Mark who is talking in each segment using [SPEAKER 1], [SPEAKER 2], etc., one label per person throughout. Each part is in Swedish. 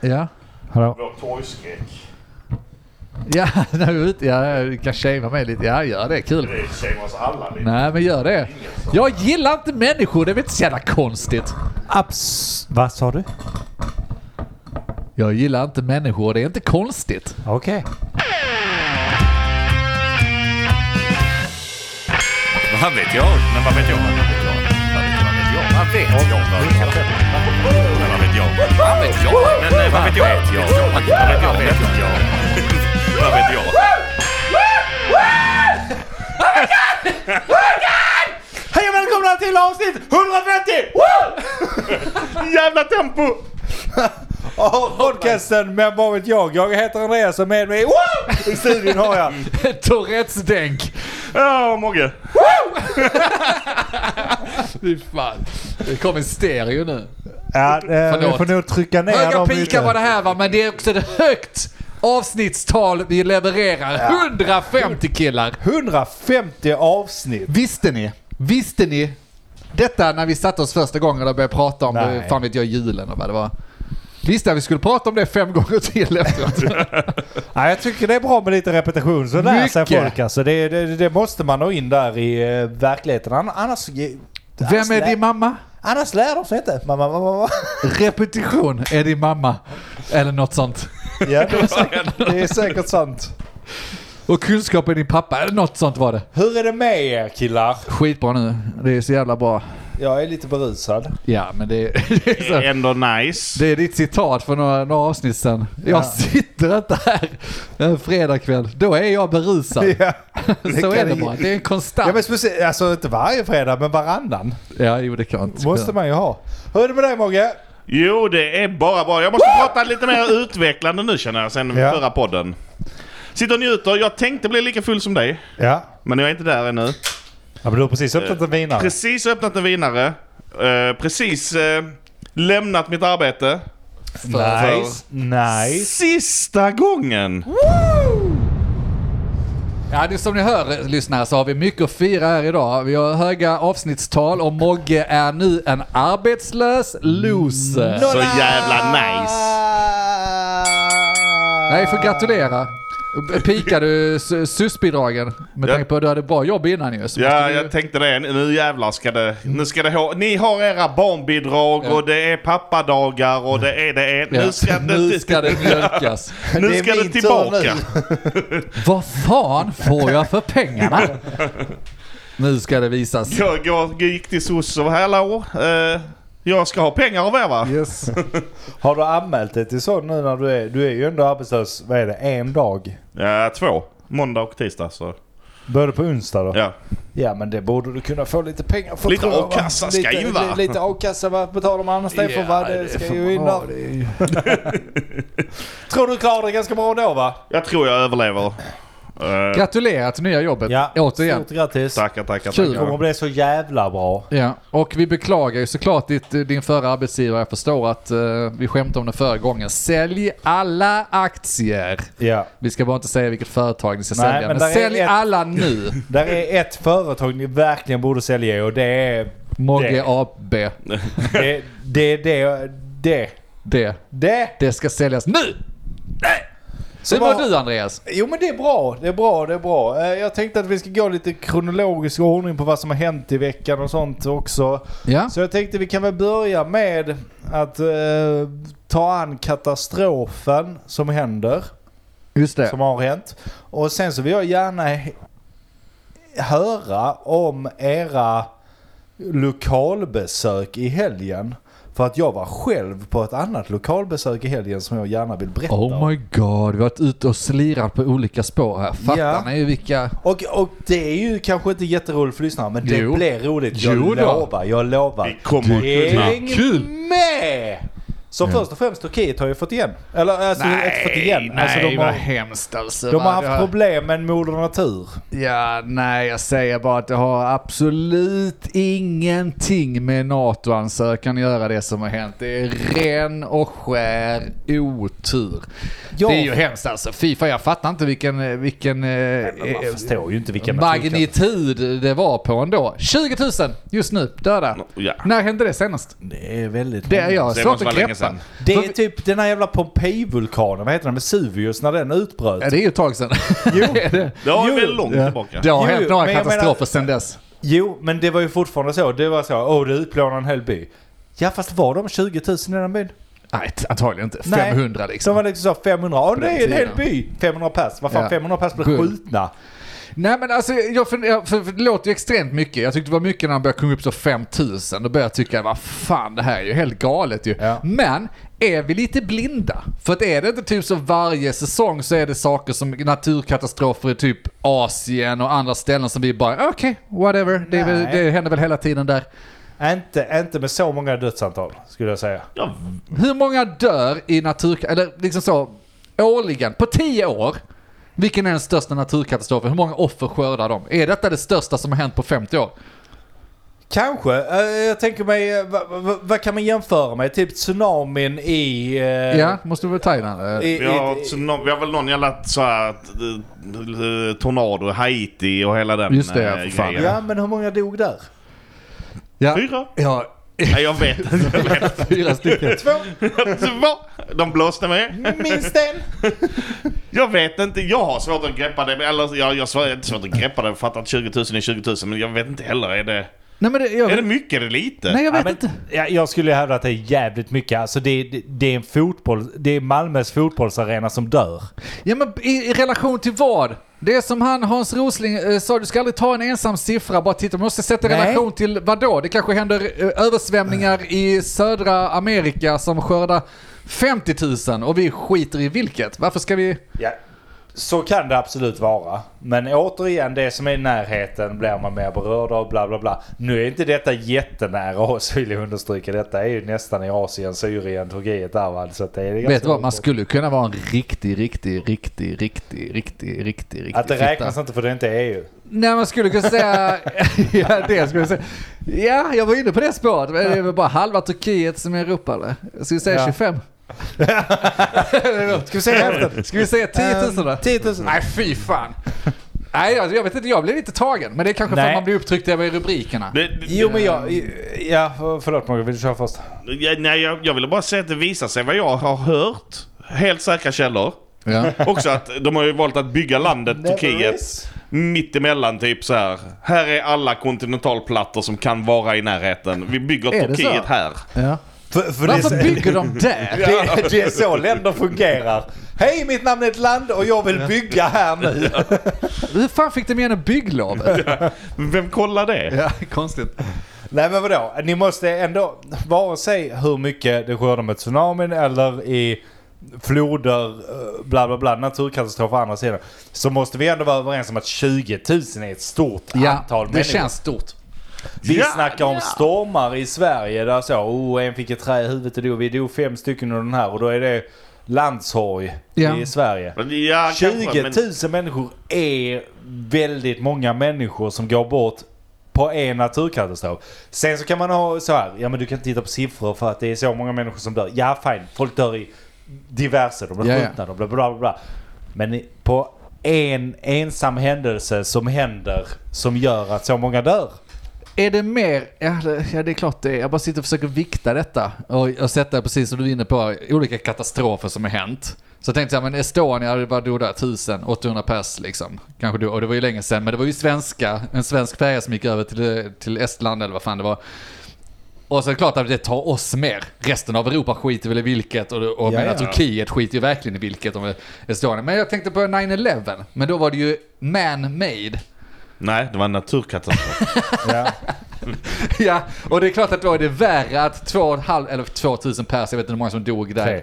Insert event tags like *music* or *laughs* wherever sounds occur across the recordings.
[SPEAKER 1] Ja.
[SPEAKER 2] Hallå?
[SPEAKER 3] Vår torgskräck.
[SPEAKER 1] Ja, *laughs* när du är ute. Ja, du kan shamea mig lite. Ja, gör det. Kul.
[SPEAKER 3] Det shamear oss alla lite.
[SPEAKER 1] Nej, men gör det. Jag gillar inte människor. Det är väl inte så jävla konstigt.
[SPEAKER 2] Abs... Vad sa du?
[SPEAKER 1] Jag gillar inte människor. Det är inte konstigt.
[SPEAKER 2] Okej.
[SPEAKER 4] Vad vet jag? Men vad vet jag? Vad vet jag? Vad vet jag? Vad vet jag? Men Vad vet jag? Vad vet jag? Men eh, vad vet jag? Vad vet jag? Vad vet jag? Vad vet jag? Vad vet jag?
[SPEAKER 2] Hej och välkomna till avsnitt 150!
[SPEAKER 3] Jävla tempo!
[SPEAKER 2] av podcasten Men vad vet jag? Jag heter Andreas och med mig Woo! i studion har jag...
[SPEAKER 1] *laughs* Tourettes dänk.
[SPEAKER 3] Ja, Mogge.
[SPEAKER 1] Fy fan. Det kom en stereo nu.
[SPEAKER 2] Ja, eh, vi
[SPEAKER 1] Förlåt.
[SPEAKER 2] får nog trycka ner
[SPEAKER 1] Höga
[SPEAKER 2] dem
[SPEAKER 1] pikar var det här va, men det är också ett högt avsnittstal vi levererar. 150 killar.
[SPEAKER 2] 150 avsnitt.
[SPEAKER 1] Visste ni? Visste ni? Detta när vi satte oss första gången och började prata om,
[SPEAKER 2] Nej.
[SPEAKER 1] det, fan vet jag, julen och vad det var. Visste att vi skulle prata om det fem *laughs* gånger till
[SPEAKER 2] *laughs*
[SPEAKER 1] efteråt.
[SPEAKER 2] Ja, jag tycker det är bra med lite repetition så lär sig
[SPEAKER 1] Mycket.
[SPEAKER 2] folk alltså. Det, det, det måste man ha in där i eh, verkligheten. Ann- Annars...
[SPEAKER 1] Vem är din mamma?
[SPEAKER 2] Annars lär de sig inte. Mamma, mamma, mamma.
[SPEAKER 1] Repetition är din mamma. Eller något sånt.
[SPEAKER 2] Ja, det är säkert, det är säkert sant.
[SPEAKER 1] Och kunskap är din pappa. Eller något sånt var det.
[SPEAKER 2] Hur är det med er killar?
[SPEAKER 1] Skitbra nu. Det är så jävla bra.
[SPEAKER 2] Jag är lite berusad.
[SPEAKER 1] Ja, men det, *laughs* det är så.
[SPEAKER 3] Ändå nice.
[SPEAKER 1] Det är ditt citat för några, några avsnitt sedan. Jag sitter inte här en fredagkväll. Då är jag berusad.
[SPEAKER 2] *laughs* Ja,
[SPEAKER 1] *laughs* så är
[SPEAKER 2] kan
[SPEAKER 1] det
[SPEAKER 2] ju-
[SPEAKER 1] bara. Det är en konstant.
[SPEAKER 2] Ja, men specie- alltså inte varje fredag, men varannan.
[SPEAKER 1] Ja, jo det kan jag inte.
[SPEAKER 2] Måste man ju ha. Hur är det med dig Mogge?
[SPEAKER 3] Jo, det är bara bra. Jag måste prata lite mer utvecklande nu känner jag, sen
[SPEAKER 2] Ja.
[SPEAKER 3] förra podden. Sitter och njuter. Jag tänkte bli lika full som dig,
[SPEAKER 2] Ja.
[SPEAKER 3] men jag är inte där ännu.
[SPEAKER 2] ja men du har precis öppnat en vinare.
[SPEAKER 3] Precis öppnat en vinare. Eh, precis eh, lämnat mitt arbete.
[SPEAKER 1] För-
[SPEAKER 2] Nice. Nice.
[SPEAKER 3] Sista gången!
[SPEAKER 1] Ja, det är som ni hör lyssnare så har vi mycket att fira här idag. Vi har höga avsnittstal och Mogge är nu en arbetslös loser.
[SPEAKER 3] Så jävla nice!
[SPEAKER 1] Nej, får gratulera. Pikar du s- SUS-bidragen? Med
[SPEAKER 3] Ja.
[SPEAKER 1] tanke på att du hade bra jobb innan ju. så måste
[SPEAKER 3] Ja,
[SPEAKER 1] du-
[SPEAKER 3] jag tänkte det. Nu jävlar ska det... Nu ska det ha, ni har era barnbidrag
[SPEAKER 1] Ja.
[SPEAKER 3] och det är pappadagar och det är det är...
[SPEAKER 1] Ja.
[SPEAKER 3] Nu ska det...
[SPEAKER 1] nu ska det
[SPEAKER 3] *laughs*
[SPEAKER 1] mjölkas.
[SPEAKER 3] Nu
[SPEAKER 2] Det är
[SPEAKER 3] ska
[SPEAKER 2] min
[SPEAKER 3] det
[SPEAKER 2] tur
[SPEAKER 3] tillbaka!
[SPEAKER 1] Vad fan får jag för pengarna? Nu ska det visas.
[SPEAKER 3] Jag, jag gick till sosse och hallå, eh, jag ska ha pengar av er va?
[SPEAKER 1] Yes.
[SPEAKER 2] Har du anmält dig till sån nu när du är, du är ju ändå arbetslös, vad är det, en dag?
[SPEAKER 3] Ja, två. Måndag och tisdag så.
[SPEAKER 2] Började på onsdag då?
[SPEAKER 3] Ja.
[SPEAKER 2] Ja, men det borde du kunna få lite pengar för
[SPEAKER 3] Lite
[SPEAKER 2] tror jag, va?
[SPEAKER 3] a-kassa ska
[SPEAKER 2] Lite-
[SPEAKER 3] in, va?
[SPEAKER 2] li- Lite a-kassa va? betalar man annars det för va? Det ska ju in där. Tror du klarar dig ganska bra ändå va?
[SPEAKER 3] Jag tror jag överlever. Eh,
[SPEAKER 1] Gratulerar till nya jobbet. Återigen.
[SPEAKER 2] Stort grattis.
[SPEAKER 3] tackar, tackar,
[SPEAKER 1] Kul.
[SPEAKER 2] Det kommer
[SPEAKER 3] tackar.
[SPEAKER 2] bli så jävla bra.
[SPEAKER 1] Ja, och vi beklagar ju såklart ditt, din förra arbetsgivare. Jag förstår att eh, vi skämtade om det förra gången. Sälj alla aktier.
[SPEAKER 2] Ja.
[SPEAKER 1] Vi ska bara inte säga vilket företag ni ska
[SPEAKER 2] Nej,
[SPEAKER 1] sälja,
[SPEAKER 2] men
[SPEAKER 1] men,
[SPEAKER 2] där är
[SPEAKER 1] sälj
[SPEAKER 2] ett-
[SPEAKER 1] alla
[SPEAKER 2] *laughs*
[SPEAKER 1] nu.
[SPEAKER 2] Där är ett företag ni verkligen borde sälja i och det är...
[SPEAKER 1] Mogge
[SPEAKER 2] Det.
[SPEAKER 1] AB.
[SPEAKER 2] Det, det, det, det,
[SPEAKER 1] Det.
[SPEAKER 2] det.
[SPEAKER 1] Det ska säljas nu!
[SPEAKER 2] Så
[SPEAKER 1] Hur mår
[SPEAKER 2] bara-
[SPEAKER 1] du Andreas?
[SPEAKER 2] Jo men det är bra, det är bra, det är bra. Eh, Jag tänkte att vi ska gå lite kronologisk ordning på vad som har hänt i veckan och sånt också.
[SPEAKER 1] Ja.
[SPEAKER 2] Så jag tänkte vi kan väl börja med att eh, ta an katastrofen som händer,
[SPEAKER 1] Just det.
[SPEAKER 2] som har hänt. Och sen så vill jag gärna he- höra om era lokalbesök i helgen. För att jag var själv på ett annat lokalbesök i helgen som jag gärna vill berätta om.
[SPEAKER 1] Oh my god, vi har varit ute och slirat på olika spår här. Fattar
[SPEAKER 2] Ja.
[SPEAKER 1] ni vilka...
[SPEAKER 2] Och, och det är ju kanske inte jätteroligt för lyssnarna, men det
[SPEAKER 1] Jo.
[SPEAKER 2] blir roligt. Jag
[SPEAKER 1] Jo då.
[SPEAKER 2] lovar, jag
[SPEAKER 3] Vi
[SPEAKER 2] lovar.
[SPEAKER 3] kommer kunna.
[SPEAKER 2] Häng
[SPEAKER 1] Kul.
[SPEAKER 2] med! Så först och främst, Turkiet har ju fått igen. Eller alltså, inte fått igen. alltså, de har,
[SPEAKER 1] hemskt alltså.
[SPEAKER 2] de har
[SPEAKER 1] va?
[SPEAKER 2] haft
[SPEAKER 1] Det har-
[SPEAKER 2] problem med Moder Natur.
[SPEAKER 1] Ja, nej, jag säger bara att det har absolut ingenting med NATO-ansökan att göra det som har hänt. Det är ren och skär otur.
[SPEAKER 2] Ja.
[SPEAKER 1] Det är ju hemskt alltså. Fy fan, jag fattar inte vilken, vilken eh,
[SPEAKER 2] Jag förstår ju inte vilka
[SPEAKER 1] magnitud det var på ändå. 20 000 just nu, döda.
[SPEAKER 3] Ja.
[SPEAKER 1] När hände det senast?
[SPEAKER 2] Det är väldigt...
[SPEAKER 1] Det är jag
[SPEAKER 3] Det
[SPEAKER 1] svårt
[SPEAKER 3] måste
[SPEAKER 1] att
[SPEAKER 3] vara
[SPEAKER 2] Mm,
[SPEAKER 3] länge
[SPEAKER 1] greppa
[SPEAKER 3] sedan.
[SPEAKER 2] Det
[SPEAKER 1] Så
[SPEAKER 2] är
[SPEAKER 1] vi-
[SPEAKER 2] typ den här jävla Pompeji-vulkanen, vad heter den, Vesuvius, när den utbröt.
[SPEAKER 1] Ja, det är ju ett tag sedan.
[SPEAKER 2] Jo.
[SPEAKER 1] *laughs* det,
[SPEAKER 3] Det var
[SPEAKER 2] Jo,
[SPEAKER 3] väl långt
[SPEAKER 1] ja.
[SPEAKER 3] tillbaka.
[SPEAKER 1] det har
[SPEAKER 2] Jo,
[SPEAKER 1] hänt några
[SPEAKER 2] men jag
[SPEAKER 1] katastrofer
[SPEAKER 2] menar-
[SPEAKER 1] sedan dess.
[SPEAKER 2] Jo, men det var ju fortfarande så. Det var så, åh det utplånar en hel by. Ja, fast var de 20 000 i den byn?
[SPEAKER 1] Nej, t- antagligen inte.
[SPEAKER 2] Nej.
[SPEAKER 1] 500
[SPEAKER 2] Så
[SPEAKER 1] liksom.
[SPEAKER 2] var det liksom så, 500, åh
[SPEAKER 1] den
[SPEAKER 2] nej en hel
[SPEAKER 1] tiden.
[SPEAKER 2] by! 500 pers, vad fan
[SPEAKER 1] Ja.
[SPEAKER 2] 500 pers blev
[SPEAKER 1] Guld.
[SPEAKER 2] skjutna.
[SPEAKER 1] Nej men alltså, jag funderar, för, för det låter ju extremt mycket. Jag tyckte det var mycket när han började komma upp så 5000. Då började jag tycka, vad fan det här är ju helt galet ju.
[SPEAKER 2] Ja.
[SPEAKER 1] Men, är vi lite blinda? För att är det inte typ så varje säsong så är det saker som naturkatastrofer i typ Asien och andra ställen som vi bara, okej, whatever. Det, är väl,
[SPEAKER 2] Nej.
[SPEAKER 1] det händer väl hela tiden där.
[SPEAKER 2] Inte, inte med så många dödsantal, skulle jag säga.
[SPEAKER 3] Ja,
[SPEAKER 1] Hur många dör i natur... Eller liksom så, årligen, på tio år. Vilken är den största naturkatastrofen? Hur många offer skördar de? Är detta det största som har hänt på 50 år?
[SPEAKER 2] Kanske. Eh, jag tänker mig, eh, vad vad- vad kan man jämföra med? Typ tsunamin i... eh,
[SPEAKER 1] Ja, måste du väl ta in den?
[SPEAKER 2] i,
[SPEAKER 3] vi, har,
[SPEAKER 2] i,
[SPEAKER 3] så nå- vi har väl någon jävla så här, eh, tornado, Haiti och hela den
[SPEAKER 1] Just det, ja,
[SPEAKER 3] eh,
[SPEAKER 1] för fan.
[SPEAKER 2] ja, men hur många dog där?
[SPEAKER 1] Ja.
[SPEAKER 3] Fyra?
[SPEAKER 1] Ja,
[SPEAKER 3] Nej, jag vet
[SPEAKER 2] *laughs*
[SPEAKER 3] inte. Jag vet
[SPEAKER 1] fyra stycken.
[SPEAKER 2] Två,
[SPEAKER 3] inte vad. De blåste med.
[SPEAKER 2] minst en.
[SPEAKER 3] Jag vet inte. Jag har svårt att greppa det. Eller jag, jag har inte svårt att greppa det. Jag fattar att 20 000 är 20 000. Men jag vet inte heller. Är det,
[SPEAKER 1] Nej men det, jag,
[SPEAKER 3] är det mycket eller lite?
[SPEAKER 1] nej, jag vet
[SPEAKER 2] men,
[SPEAKER 1] inte.
[SPEAKER 2] Ja, jag skulle hävda att det är jävligt mycket. Alltså det, det, det är en fotboll, det är Malmös fotbollsarena som dör.
[SPEAKER 1] Ja men i, i relation till vad? Det är som han Hans Rosling eh, sa, du ska aldrig ta en ensam siffra, bara titta. Man måste sätta i
[SPEAKER 2] Nej.
[SPEAKER 1] relation till vad då? Det kanske händer eh, översvämningar i södra Amerika som skördar 50 000 och vi skiter i vilket. Varför ska vi...
[SPEAKER 2] Ja. Så kan det absolut vara. Men återigen, det som är i närheten blir man mer berörd av bla bla bla. Nu är inte detta jättenära oss vill jag understryka. Detta är ju nästan i Asien, Syrien, Turkiet där va. Så att det är ganska
[SPEAKER 1] Vet du vad, man
[SPEAKER 2] långt bort.
[SPEAKER 1] skulle kunna vara en riktig, riktig, riktig, riktig, riktig, riktig, riktig
[SPEAKER 2] Att det
[SPEAKER 1] fitta.
[SPEAKER 2] räknas inte för det inte E är EU.
[SPEAKER 1] Nej, man skulle kunna säga... *laughs* ja, det skulle jag säga. Ja, jag var inne på det spåret. Men det är väl bara halva Turkiet som är Europa, eller? Jag skulle säga
[SPEAKER 2] Ja.
[SPEAKER 1] 25.
[SPEAKER 2] Ska vi säga *laughs*
[SPEAKER 1] *laughs*
[SPEAKER 2] hälften?
[SPEAKER 1] Ska vi säga 10 000 då?
[SPEAKER 2] 10 000.
[SPEAKER 1] Nej, fy fan. Nej, jag, jag vet inte. Jag blev lite tagen. Men det är kanske för
[SPEAKER 2] Nej.
[SPEAKER 1] att man blir upptryckt över rubrikerna.
[SPEAKER 3] Det, det,
[SPEAKER 2] Jo men jag... Ja, förlåt Morgan. Vill du köra först?
[SPEAKER 3] Ja, nej, jag, jag ville bara säga att det visar sig vad jag har hört. Helt säkra källor.
[SPEAKER 1] Ja.
[SPEAKER 3] Också att de har ju valt att bygga landet Turkiet
[SPEAKER 2] is.
[SPEAKER 3] mitt emellan typ så här. Här är alla kontinentalplattor som kan vara i närheten. Vi bygger
[SPEAKER 1] Är det så?
[SPEAKER 3] Turkiet här.
[SPEAKER 1] Ja.
[SPEAKER 2] För, för det är så-
[SPEAKER 1] Varför bygger de där?
[SPEAKER 2] Det, det är så länder fungerar. Hej, mitt namn är ett land och jag vill bygga här nu.
[SPEAKER 1] Hur fan fick de igenom bygglovet?
[SPEAKER 3] Vem kollar det?
[SPEAKER 1] Ja, konstigt.
[SPEAKER 2] Nej men vadå, ni måste ändå, vare sig hur mycket det skördar med tsunamin eller i floder, eh, bla bla bla, naturkatastrofer å andra sidan. Så måste vi ändå vara överens om att 20 000 är ett stort
[SPEAKER 1] Ja,
[SPEAKER 2] antal
[SPEAKER 1] det
[SPEAKER 2] människor.
[SPEAKER 1] känns stort.
[SPEAKER 2] Vi
[SPEAKER 3] Ja,
[SPEAKER 2] snackar om
[SPEAKER 3] ja.
[SPEAKER 2] stormar i Sverige där så, oh en fick ett trä i huvudet och dog. Vi dog fem stycken under den här och då är det landsorg
[SPEAKER 1] Ja.
[SPEAKER 2] i Sverige.
[SPEAKER 3] Ja,
[SPEAKER 2] 20
[SPEAKER 3] kanske,
[SPEAKER 2] 000
[SPEAKER 3] men-
[SPEAKER 1] typ.
[SPEAKER 2] människor är väldigt många människor som går bort på en naturkatastrof. Sen så kan man ha så här, ja men du kan titta på siffror för att det är så många människor som dör. Ja fine, folk dör i diverse, de blir
[SPEAKER 1] Ja, ja.
[SPEAKER 2] skjutna, de blir bla bla bla. Men i- på en ensam händelse som händer som gör att så många dör.
[SPEAKER 1] Är det mer, ja det, ja det är klart det är. Jag bara sitter och försöker vikta detta och, och sätta precis som du är inne på, olika katastrofer som har hänt. Så jag tänkte jag, men Estonia, det bara dog där 1000, 800 pers liksom. Kanske då, och det var ju länge sedan, men det var ju svenska, en svensk färja som gick över till, till Estland eller vad fan det var. Och så är det klart att det tar oss mer. Resten av Europa skiter väl i vilket och, och
[SPEAKER 2] Ja,
[SPEAKER 1] medan
[SPEAKER 2] ja.
[SPEAKER 1] Turkiet skiter ju verkligen i vilket om Estonia. Men jag tänkte på 9-11, men då var det ju man-made.
[SPEAKER 3] Nej, det var en
[SPEAKER 1] *laughs*
[SPEAKER 3] naturkatastrof.
[SPEAKER 2] Ja.
[SPEAKER 1] Ja, och det är klart att då är det värre att 2,5 eller 2000 pers, jag vet inte hur många som dog där.
[SPEAKER 2] Tre.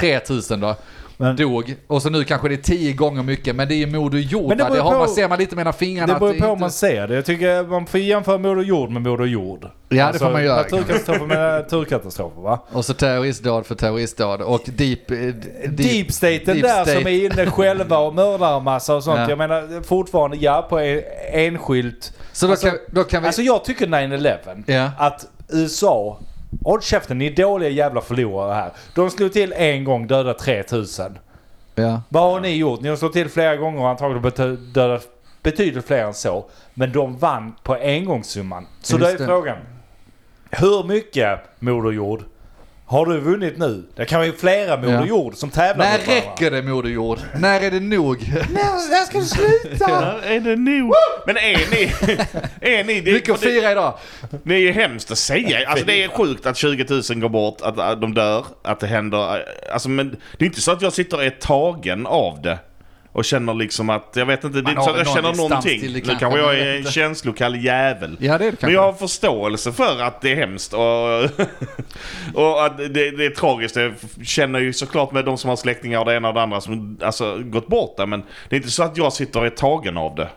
[SPEAKER 1] 3000 då.
[SPEAKER 2] Men-
[SPEAKER 1] dog. Och så nu kanske det är 10 gånger mycket, men det är ju Moder Jord.
[SPEAKER 2] Men det
[SPEAKER 1] va?
[SPEAKER 2] beror
[SPEAKER 1] Det har,
[SPEAKER 2] på-
[SPEAKER 1] man ser man lite mellan fingrarna.
[SPEAKER 2] *laughs* Det beror
[SPEAKER 1] att
[SPEAKER 2] på hur
[SPEAKER 1] inte-
[SPEAKER 2] man ser det. Jag tycker man får jämföra Moder Jord med Moder Jord. Alltså,
[SPEAKER 1] det får man göra.
[SPEAKER 2] Naturkatastrofer med naturkatastrofer va?
[SPEAKER 1] Och så terroristdåd för terroristdåd. Och deep... eh, d-
[SPEAKER 2] Deep State, den
[SPEAKER 1] deep
[SPEAKER 2] där
[SPEAKER 1] state.
[SPEAKER 2] som är inne själva och mördar massa och sånt.
[SPEAKER 1] Ja.
[SPEAKER 2] Jag menar fortfarande, ja på en, enskilt.
[SPEAKER 1] Så då,
[SPEAKER 2] alltså,
[SPEAKER 1] kan, då kan vi...
[SPEAKER 2] alltså jag tycker 9-11.
[SPEAKER 1] Ja.
[SPEAKER 2] Att USA, håll käften ni är dåliga jävla förlorare här. De slog till en gång, döda 3000.
[SPEAKER 3] Alltså-
[SPEAKER 1] ja.
[SPEAKER 2] Vad har ni gjort? Ni har slagit till flera gånger och antagligen bety- dödat betydligt fler än så. Men de vann på engångssumman. Så
[SPEAKER 1] Just
[SPEAKER 2] då är
[SPEAKER 1] det.
[SPEAKER 2] frågan. Hur mycket Moder Jord Har du vunnit nu? Det kan vara flera Moder
[SPEAKER 1] Ja.
[SPEAKER 2] Jord som tävlar
[SPEAKER 1] När
[SPEAKER 2] mot varandra.
[SPEAKER 1] räcker det Moder Jord? När är det nog?
[SPEAKER 2] När, när ska du sluta?
[SPEAKER 3] Ja, är det nu? Men är ni...
[SPEAKER 1] *laughs*
[SPEAKER 3] Är ni det,
[SPEAKER 1] Mycket att
[SPEAKER 3] det,
[SPEAKER 1] fira idag.
[SPEAKER 3] det är ju hemskt att säga. Alltså det är sjukt att 20 000 går bort, att, att de dör, att det händer. Alltså men det är inte så att jag sitter och är tagen av det. Och känner liksom att, jag vet inte, det är inte
[SPEAKER 1] har
[SPEAKER 3] så att jag
[SPEAKER 1] väl någon
[SPEAKER 3] känner
[SPEAKER 1] distans
[SPEAKER 3] någonting.
[SPEAKER 1] till det
[SPEAKER 3] nu
[SPEAKER 1] kanske,
[SPEAKER 3] kanske jag
[SPEAKER 1] man
[SPEAKER 3] är
[SPEAKER 1] vet
[SPEAKER 3] en
[SPEAKER 1] inte.
[SPEAKER 3] känslokall jävel.
[SPEAKER 1] Ja, det är det
[SPEAKER 3] Men
[SPEAKER 1] kanske.
[SPEAKER 3] jag har förståelse för att det är hemskt och, *laughs* och att det, det är tragiskt. Jag känner ju såklart med de som har släktingar och det ena och det andra som alltså, gått bort där. Men det är inte så att jag sitter och är tagen av det.